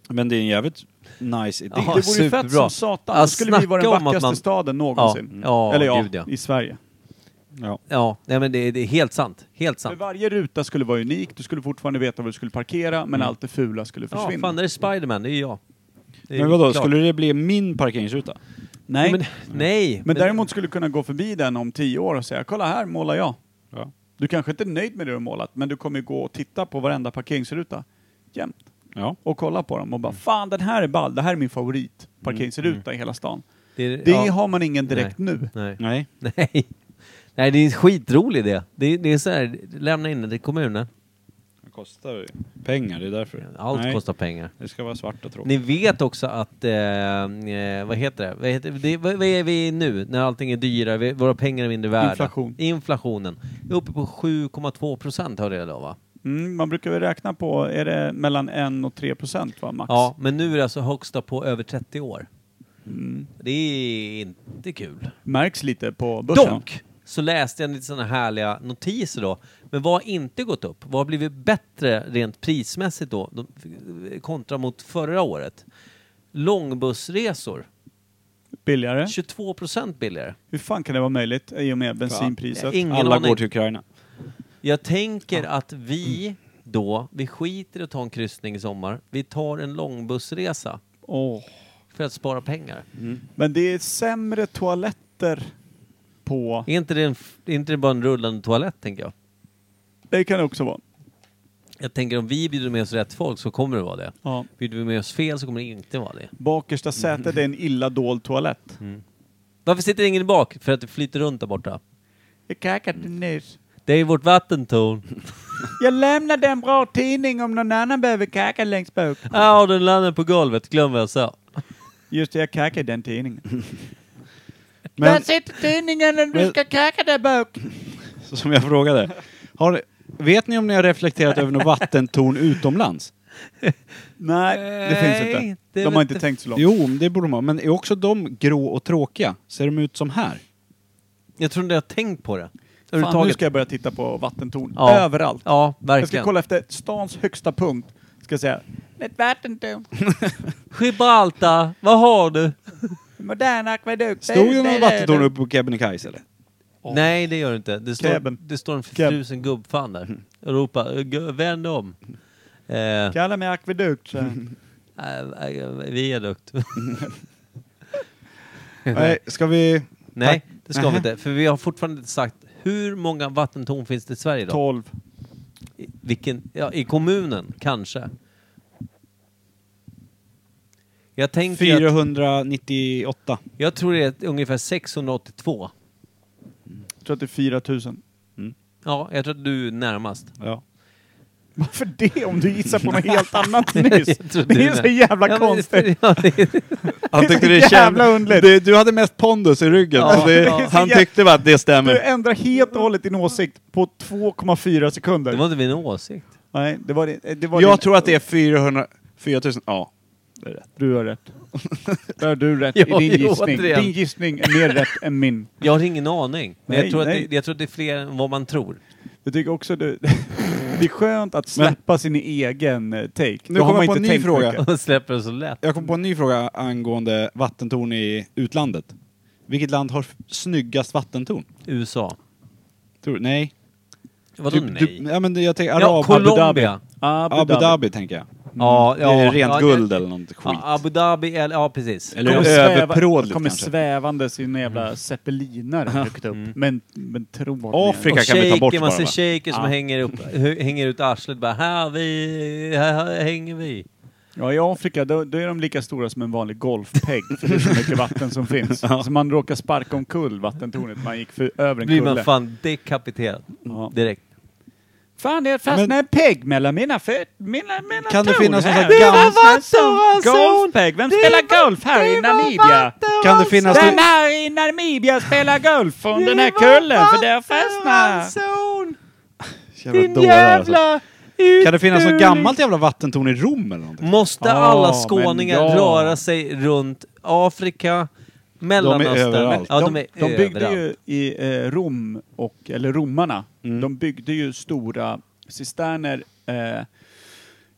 B: Men det är en jävligt nice idé.
C: det,
D: Ja,
C: det vore ju
D: superbra.
C: fett som satan.
D: Ja,
C: Då skulle vi vara den
D: snacka om att
C: vackraste
D: man-
C: staden någonsin.
D: Ja, ja,
C: Eller ja,
D: gud, ja.
C: i Sverige.
D: Ja, nej men det, det är helt sant. Helt
C: För
D: sant.
C: varje ruta skulle vara unik, du skulle fortfarande veta var du skulle parkera, men allt det fula skulle
D: Mm. Ja,
C: försvinna.
D: fan, det är Spiderman, det är jag. Det är
B: Men vadå,
D: klart.
B: skulle det bli min parkeringsruta?
C: Nej.
D: Men,
C: Men,
D: nej.
C: däremot skulle du kunna gå förbi den om tio år och säga, kolla här målar jag. Du kanske inte är nöjd med det du har målat, men du kommer ju gå och titta på varenda parkeringsruta jämt.
B: Ja.
C: Och kolla på dem och bara, fan den här är ball, det här är min favorit parkeringsruta i hela stan.
D: det,
C: Det
D: ja,
C: har man ingen direkt nu.
D: nej.
B: Nej.
D: <laughs> Nej. Nej, det är en skitrolig idé. Det, det är så här, lämna in den till kommunen.
B: Det kostar ju pengar, det är därför.
D: Allt
B: Nej.
D: kostar pengar.
B: Det ska vara svart och tråkigt.
D: Ni vet också att, eh, eh, vad heter det? Vad, heter det vad, vad är vi i nu när allting är dyrare, vi, våra pengar är mindre värda?
C: Inflation.
D: Inflationen. Det är uppe på 7,2 procent hörde jag då va?
C: Mm, man brukar väl räkna på, är det mellan 1 och 3 procent va, max?
D: Ja, men nu är det alltså högsta på över 30 år.
C: Mm.
D: Det är inte kul.
C: Märks lite på börsen.
D: Dock så läste jag lite sådana härliga notiser då. Men vad har inte gått upp? Vad har blivit bättre rent prismässigt då de, kontra mot förra året? Långbussresor,
C: Billigare.
D: 22 procent billigare.
C: Hur fan kan det vara möjligt i och med bensinpriset?
D: Ingen
B: Alla
D: aning.
B: går till Ukraina. <laughs>
D: Jag tänker att vi då, vi skiter i att ta en kryssning i sommar. Vi tar en långbussresa
C: Åh. Mm.
D: för att spara pengar.
C: Men det är sämre toaletter på på...
D: Är inte det, en, f- är inte det bara en rullande toalett, tänker jag?
C: Det kan det också vara.
D: Jag tänker om vi bjuder med oss rätt folk så kommer det vara det.
C: Ja.
D: Bjuder vi med oss fel så kommer det inte vara det.
C: Bakersta sätet är en illa dold toalett.
D: Varför sitter ingen i bak? För att det flyter runt där borta.
C: Jag kackade nyss.
D: Det är ju vårt vattentorn.
C: Jag lämnade en bra tidning om någon annan behöver kacka längst bak.
D: <laughs> Ja, den landade på golvet. Glöm vad jag sa.
C: Just det, jag kackade i den tidningen. Men, sitter tidningen om du ska kacka där bak.
B: Så som jag frågade. Har, vet ni om ni har reflekterat över något vattentorn utomlands?
C: Nej, det finns
D: Nej,
C: inte.
D: det är
C: De
D: väl
C: har inte
D: inte-
C: tänkt så långt.
B: Jo, det borde man. Men är också de grå och tråkiga? Ser de ut som här?
D: Jag tror inte jag har tänkt på det.
C: Fan, nu
D: Överhuvudtaget.
C: ska jag börja titta på vattentorn.
D: Ja.
C: Överallt.
D: Ja,
C: Jag ska
D: verkligen.
C: kolla efter stans högsta punkt. Ska jag säga. Ett vattentorn.
D: Gibraltar, vad har du?
C: Modern akvedukt.
B: Stod det någon vattentorn uppe på Kebnekaise eller?
D: Nej, det gör det inte. Det
C: Kebben.
D: står, det står en
C: Keb.
D: frusen gubbfan där. Ropa, vänd om. Eh, eh,
C: Kalla mig akvedukt. säger han.
D: eh, viadukt.
B: Nej, ska vi...
D: <laughs> Nej, det ska vi
B: Nähä.
D: <laughs> inte. För vi har fortfarande inte sagt hur många vattentorn finns det i Sverige då?
C: 12.
D: I, vilken, ja, I kommunen, kanske. Jag tänker att-
B: 498.
D: Jag tror det är ungefär 682.
C: Jag tror att det är 4000.
D: Ja, jag tror att du är närmast.
B: Ja.
C: Varför det om du gissar på något helt annat
D: <laughs>
C: nyss?
D: Jag trodde
C: <laughs> Det är så
D: det.
C: jävla
D: Ja, men- <laughs>
C: konstigt.
D: ja, det-
B: Han tyckte <laughs> det
C: Jävla
B: kändes...
C: underligt.
B: Det, du hade mest pondus i ryggen.
D: Ja,
B: så det,
D: ja. Det är så
B: Han
C: jävla-
B: tyckte bara att det
C: Du
B: stämmer.
C: ändrar helt och hållet din åsikt på 2,4 sekunder.
D: det var inte min åsikt.
C: Nej, det var, det, det var
B: Jag
C: din-
B: tror att det är 400... 4000... Ja. Det är rätt.
C: Du har rätt. Där har du rätt
D: Ja,
C: i din
D: jo,
C: gissning.
D: återigen.
C: Din gissning är mer rätt än min.
D: Jag har ingen aning. Men
C: Nej,
D: jag, tror att
C: nej.
D: det, jag tror att det är fler än vad man tror. <laughs>
C: Jag tycker också det, <laughs> det är skönt att släppa sin egen eh, take.
B: Nu
C: Då har
B: kommer jag
C: man
B: på en ny
C: tänkt
B: fråga.
C: mycket.
D: Man släpper det så lätt.
B: Jag kom på en ny fråga angående vattentorn i utlandet. Vilket land har f- snyggast vattentorn?
D: USA.
B: Tror du? Nej.
D: Vadå
B: Du-
D: nej?
B: Du, ja, men jag tänker Arab,
D: ja, Colombia.
C: Abu
B: Abu Dhabi. Abu
C: Dhabi.
B: Dhabi tänker jag.
D: Ja, ja,
B: det är rent
D: ja,
B: guld
D: det-
B: eller något skit.
D: Ja, Abu Dhabi, eller, ja precis.
B: Eller
C: Kommer
B: överprådligt
C: sväva- Kommer
B: kanske. Mm.
C: svävande sin jävla zeppelinare högt upp. Men, men tro
B: Afrika.
D: och
B: kan vi ta bort
D: shaker,
B: bara,
D: man ser
B: va?
D: shaker som
C: Ja.
D: hänger, upp, hö- hänger ut arslet bara här, vi, här, här hänger vi.
C: Ja, i Afrika då, då är de lika stora som en vanlig golfpegg. För det är så mycket vatten som finns.
B: <laughs>
C: Så man råkar sparka omkull vattentornet. Man gick för, över en
D: Blir
C: kulle.
D: man fan dekapiterad
C: Ja.
D: direkt.
C: Fan, det fastnade en pegg mellan mina fötter. Mina, mina
B: Kan det
C: tår
B: finnas någon
C: här.
B: sån här gammal-
C: Golfpegg? Vem spelar golf här i Namibia?
B: Kan det finnas...
C: Den här i Namibia spelar golf från den här kullen för där fastnar.
B: Jävla dårar, alltså. Kan det finnas något gammalt jävla vattentorn i Rom eller någonting?
D: Måste
C: Ja,
D: alla
C: men
D: skåningar
C: ja.
D: röra sig runt Afrika, Mellanöstern?
B: överallt.
D: Ja, de, är
C: de byggde
D: överallt.
C: ju i eh, Rom, och, eller romarna,
D: Mm.
C: de byggde ju stora cisterner eh,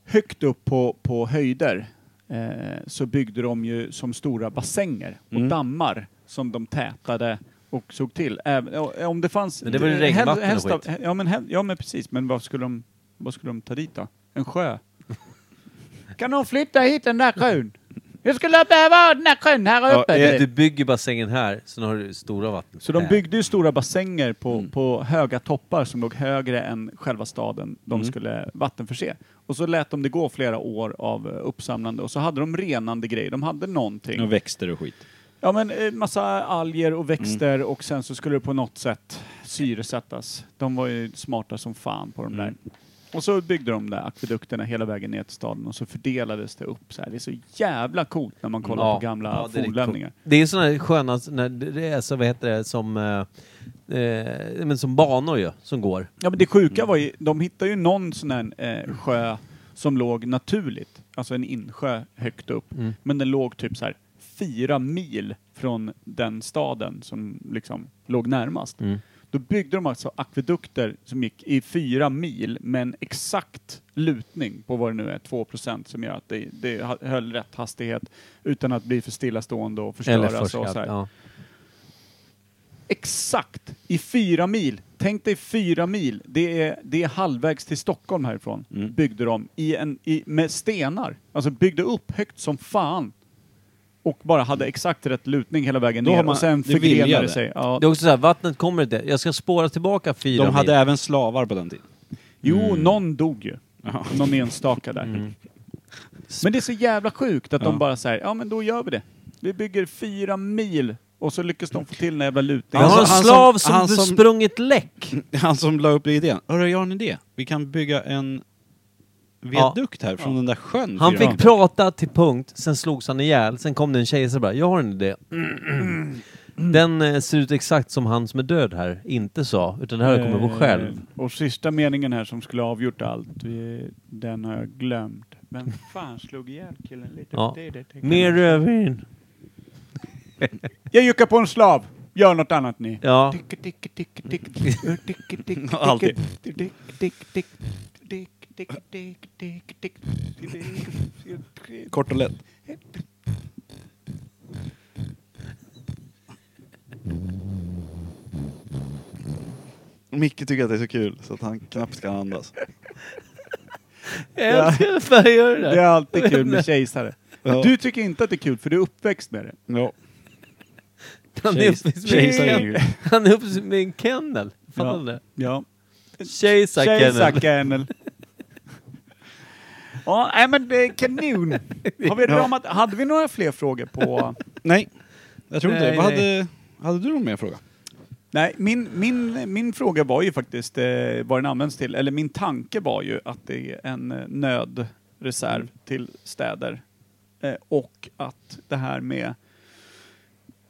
C: högt upp på, på höjder. Eh, så byggde de ju som stora bassänger och
D: Mm.
C: dammar som de tätade och såg till. Även, och- om det fanns...
D: Men det var ju
C: eh,
D: regnvatten och
C: helst av-
D: skit.
C: Ja men, hel- ja men precis, men vad skulle, de, vad skulle de ta dit då?
D: <laughs>
C: En sjö? kan någon flytta hit den där sjön? Jag skulle behöva ha den där sjön här uppe!
D: Du- Du bygger bassängen här, sen har du stora vatten. Äh.
C: Så de
D: här.
C: byggde ju stora bassänger på, på höga toppar som låg högre än själva staden de skulle vattenförse. Och så lät de det gå flera år av eh, uppsamlande och så hade de renande grejer. De hade någonting.
B: Mm. Och växter och skit.
C: Ja men eh, massa alger och växter och sen så skulle det på något sätt syresättas. De var ju smarta som fan på de där. Och så byggde de där akvedukterna hela vägen ner till staden och så fördelades det upp så här. Det är så jävla coolt när man kollar
D: Ja,
C: på gamla
D: ja, det är riktigt
C: fornlämningar.
D: coolt. Det är sådana här sköna, när det är så, vad heter det, som, eh, eh, men som banor ju, som går.
C: Ja men det sjuka var ju, de hittade ju någon sån här eh, sjö som låg naturligt, alltså en insjö högt upp.
D: Mm.
C: Men den låg typ så här fyra mil från den staden som liksom låg närmast.
D: Mm.
C: Då byggde de alltså akvedukter som gick i fyra mil med en exakt lutning på vad det nu är, 2% som gör att det, det ha- höll rätt hastighet utan att bli för stillastående och
D: Eller
C: förstöras. Och
D: förskat.
C: så här
D: Ja.
C: exakt i fyra mil. Tänk dig fyra mil. Det är, det är halvvägs till Stockholm härifrån.
B: Mm.
C: Byggde de i en, i, med stenar. Alltså byggde upp högt som fan. och bara hade exakt rätt lutning hela vägen
B: Mm. Då
C: ner
B: har man-
C: och sen
B: det vilja
C: förgrenade det
B: det.
C: sig. Ja.
D: Det är också så här, vattnet kommer inte. Jag ska spåra tillbaka fyra
B: De hade
D: mil.
B: även slavar på den tiden. <laughs>
C: Jo,
B: Mm.
C: någon dog ju. Någon enstaka där. Men det är så jävla sjukt att de bara säger, ja men då gör vi det. Vi bygger fyra mil och så lyckas de få till den här jävla
D: Jag
C: lutningen.
B: Ja.
D: har en
B: Alltså, han
D: slav
B: som-
D: som,
B: han som-
D: sprungit läck.
B: Han som la upp idén. Hörru, jag har en idé. Vi kan bygga en viadukt här från den där sjön.
D: Han
B: fyra <laughs>
D: fick
B: mil.
D: prata till punkt, sen slogs han ihjäl, sen kom det en kejsare bara, jag har en idé. Den eh, ser ut exakt som han som är död här inte sa, utan det här har jag kommit på själv.
C: Eh, Och sista meningen här som skulle ha avgjort allt, eh, den har jag glömt. Men fan slog ihjäl killen lite?
D: Ja.
C: Det, det, det,
D: Mer rödvin.
C: Jag juckar på en slav! Gör något annat ni.
D: Ja.
C: Tick, tick, tick, tick, tick, tick, tick, tick, tick,
B: Alltid.
C: tick, tick, tick, tick, tick, tick, tick, tick, tick,
B: <laughs>
C: tick.
B: Kort och lätt. Micke tycker att det är så kul så att han knappt kan andas.
D: Jag älskar att jag gör det
C: Det är
D: där.
C: alltid
D: <laughs>
C: kul med kejsare.
B: Ja.
C: Du tycker inte att det är kul för du är uppväxt med det.
B: Ja.
D: Han är uppe med en ken-
B: Kejsaren.
D: han är uppe med en kennel. Fattar du det?
C: Ja.
D: Kejsarkennel. <laughs>
C: Kejsarkennel. Ja, nej men det är
D: <laughs>
C: kanon. Har vi ramat, hade vi några fler frågor på...
B: Nej, jag tror inte
D: Nej,
B: det. Vad
D: nej.
B: hade, hade du någon mer fråga?
C: Nej, min, min, min fråga var ju faktiskt eh, vad den används till, eller min tanke var ju att det är en eh, nödreserv
B: Mm.
C: till städer. Eh, och att det här med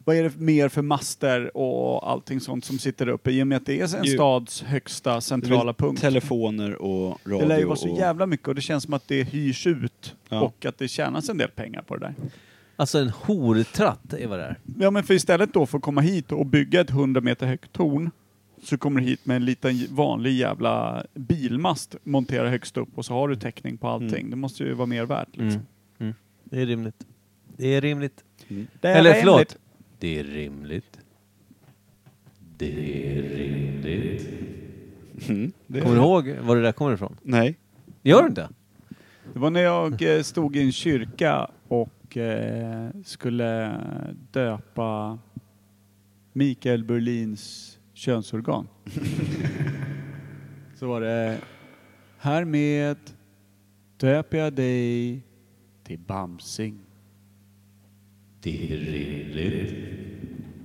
C: vad är det mer för master och allting sånt som sitter uppe i och med att det är en
B: Ju-
C: stads högsta centrala punkt.
B: Telefoner och radio.
C: Det lär ju vara så
B: och-
C: <laughs> jävla mycket och det känns som att det hyrs ut
B: Ja.
C: och att det tjänas en del pengar på det där.
D: Alltså en hortratt är vad det är.
C: Ja men för istället då för att komma hit och bygga ett 100 meter högt torn så kommer du hit med en liten j- vanlig jävla bilmast montera högst upp och så har du täckning på allting. Det måste ju vara mer värt.
B: Mm.
D: Mm.
C: Liksom.
D: Det är rimligt. Det är rimligt.
C: Det är
D: Eller
C: rimligt.
D: förlåt. Det är rimligt.
B: Mm, det
D: Kommer du ihåg var det där kommer ifrån?
B: Nej.
D: Gör du inte?
C: Det var när jag eh, stod i en kyrka och eh, skulle döpa Mikael Berlins könsorgan. Så var det Härmed döper jag dig till Bamsing. Det är rimligt.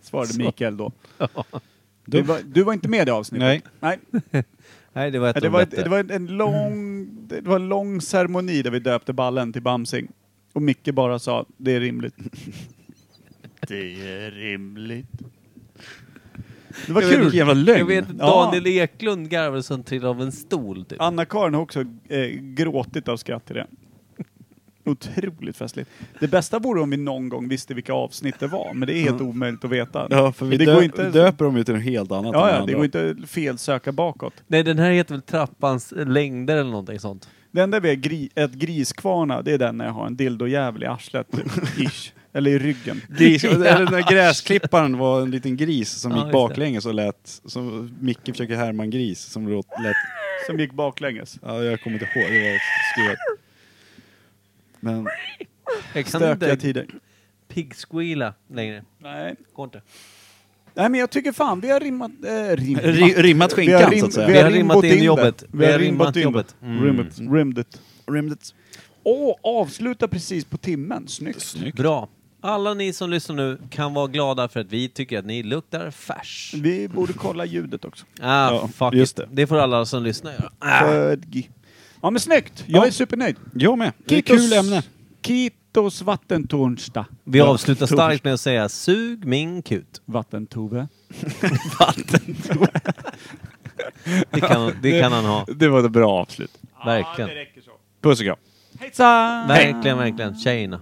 C: Svarade Mikael då. Du var, du var inte med i det avsnittet?
B: Nej.
C: Nej.
D: Nej, det var ett
C: Ja,
D: av
C: Det
D: de
C: var, ett,
D: bättre.
C: det, var en, en lång, det var en lång ceremoni där vi döpte ballen till Bamsing. Och Micke bara sa, det
B: <laughs>
C: är rimligt. Det är rimligt. Det var
B: Vilken
C: kul.
B: jävla
D: Jag
B: lögn.
D: vet
C: Ja.
D: Daniel Eklund garvade som trillade av en stol typ.
C: Anna-Karin har också eh, gråtit av skratt till det. Otroligt festligt. Det bästa vore om vi någon gång visste vilka avsnitt det var, men det är helt omöjligt att veta.
B: Ja, för vi
C: det
B: dö-
C: går inte,
B: döper dem ju till något helt annat än
C: ja, ja,
B: andra.
C: det <laughs> går inte att felsöka bakåt.
D: Nej, den här heter väl Trappans längder eller någonting sånt.
C: Det enda vi är gri ett griskvarna, det är den när jag har en dildojävel
B: <laughs>
C: i arslet. typ, Ish. Eller i ryggen.
B: Gris, eller den där gräsklipparen var en liten gris som
D: Ja,
B: gick
D: just det.
B: baklänges och lät... Som Micke försöker härma en gris som låt, lät...
C: Som gick baklänges.
B: Ja, jag kommer inte ihåg. Det var skruvat. Men...
D: Jag kan
C: Stökiga
D: inte
C: tider.
D: piggsqueala längre.
C: Nej.
D: Går inte.
C: Nej men jag tycker fan vi har rimmat... Eh, rimmat.
B: Ri- Rimmat
C: Vi har
B: skinkan
C: rim-
B: så att säga.
D: vi har
C: rimbot
D: rimmat in
C: det.
D: jobbet.
C: Vi har rimmat in jobbet.
D: Mm.
C: Rimmet. Rimmed it.
B: Rimmat.
C: Åh, avsluta precis på timmen. Snyggt.
D: Bra. Alla ni som lyssnar nu kan vara glada för att vi tycker att ni luktar färs.
C: Vi borde kolla ljudet också.
D: Ah,
B: Ja,
D: fuck
B: just
D: it.
B: det.
D: Det får alla som lyssnar göra.
C: Födgi. Äh. Ja men snyggt. Jag
B: Ja.
C: är supernöjd.
B: Jag med. Det är ett
C: Kitos-
B: kul ämne.
C: Kitos vattentornsta.
D: Vi avslutar starkt med att säga sug min kut.
C: Vattentove.
D: Det kan, det kan han
C: <laughs>
D: ha.
B: Det var ett bra avslut.
D: Verkligen.
B: Puss och kram.
C: Hejsan!
D: Verkligen, verkligen. Tjejerna.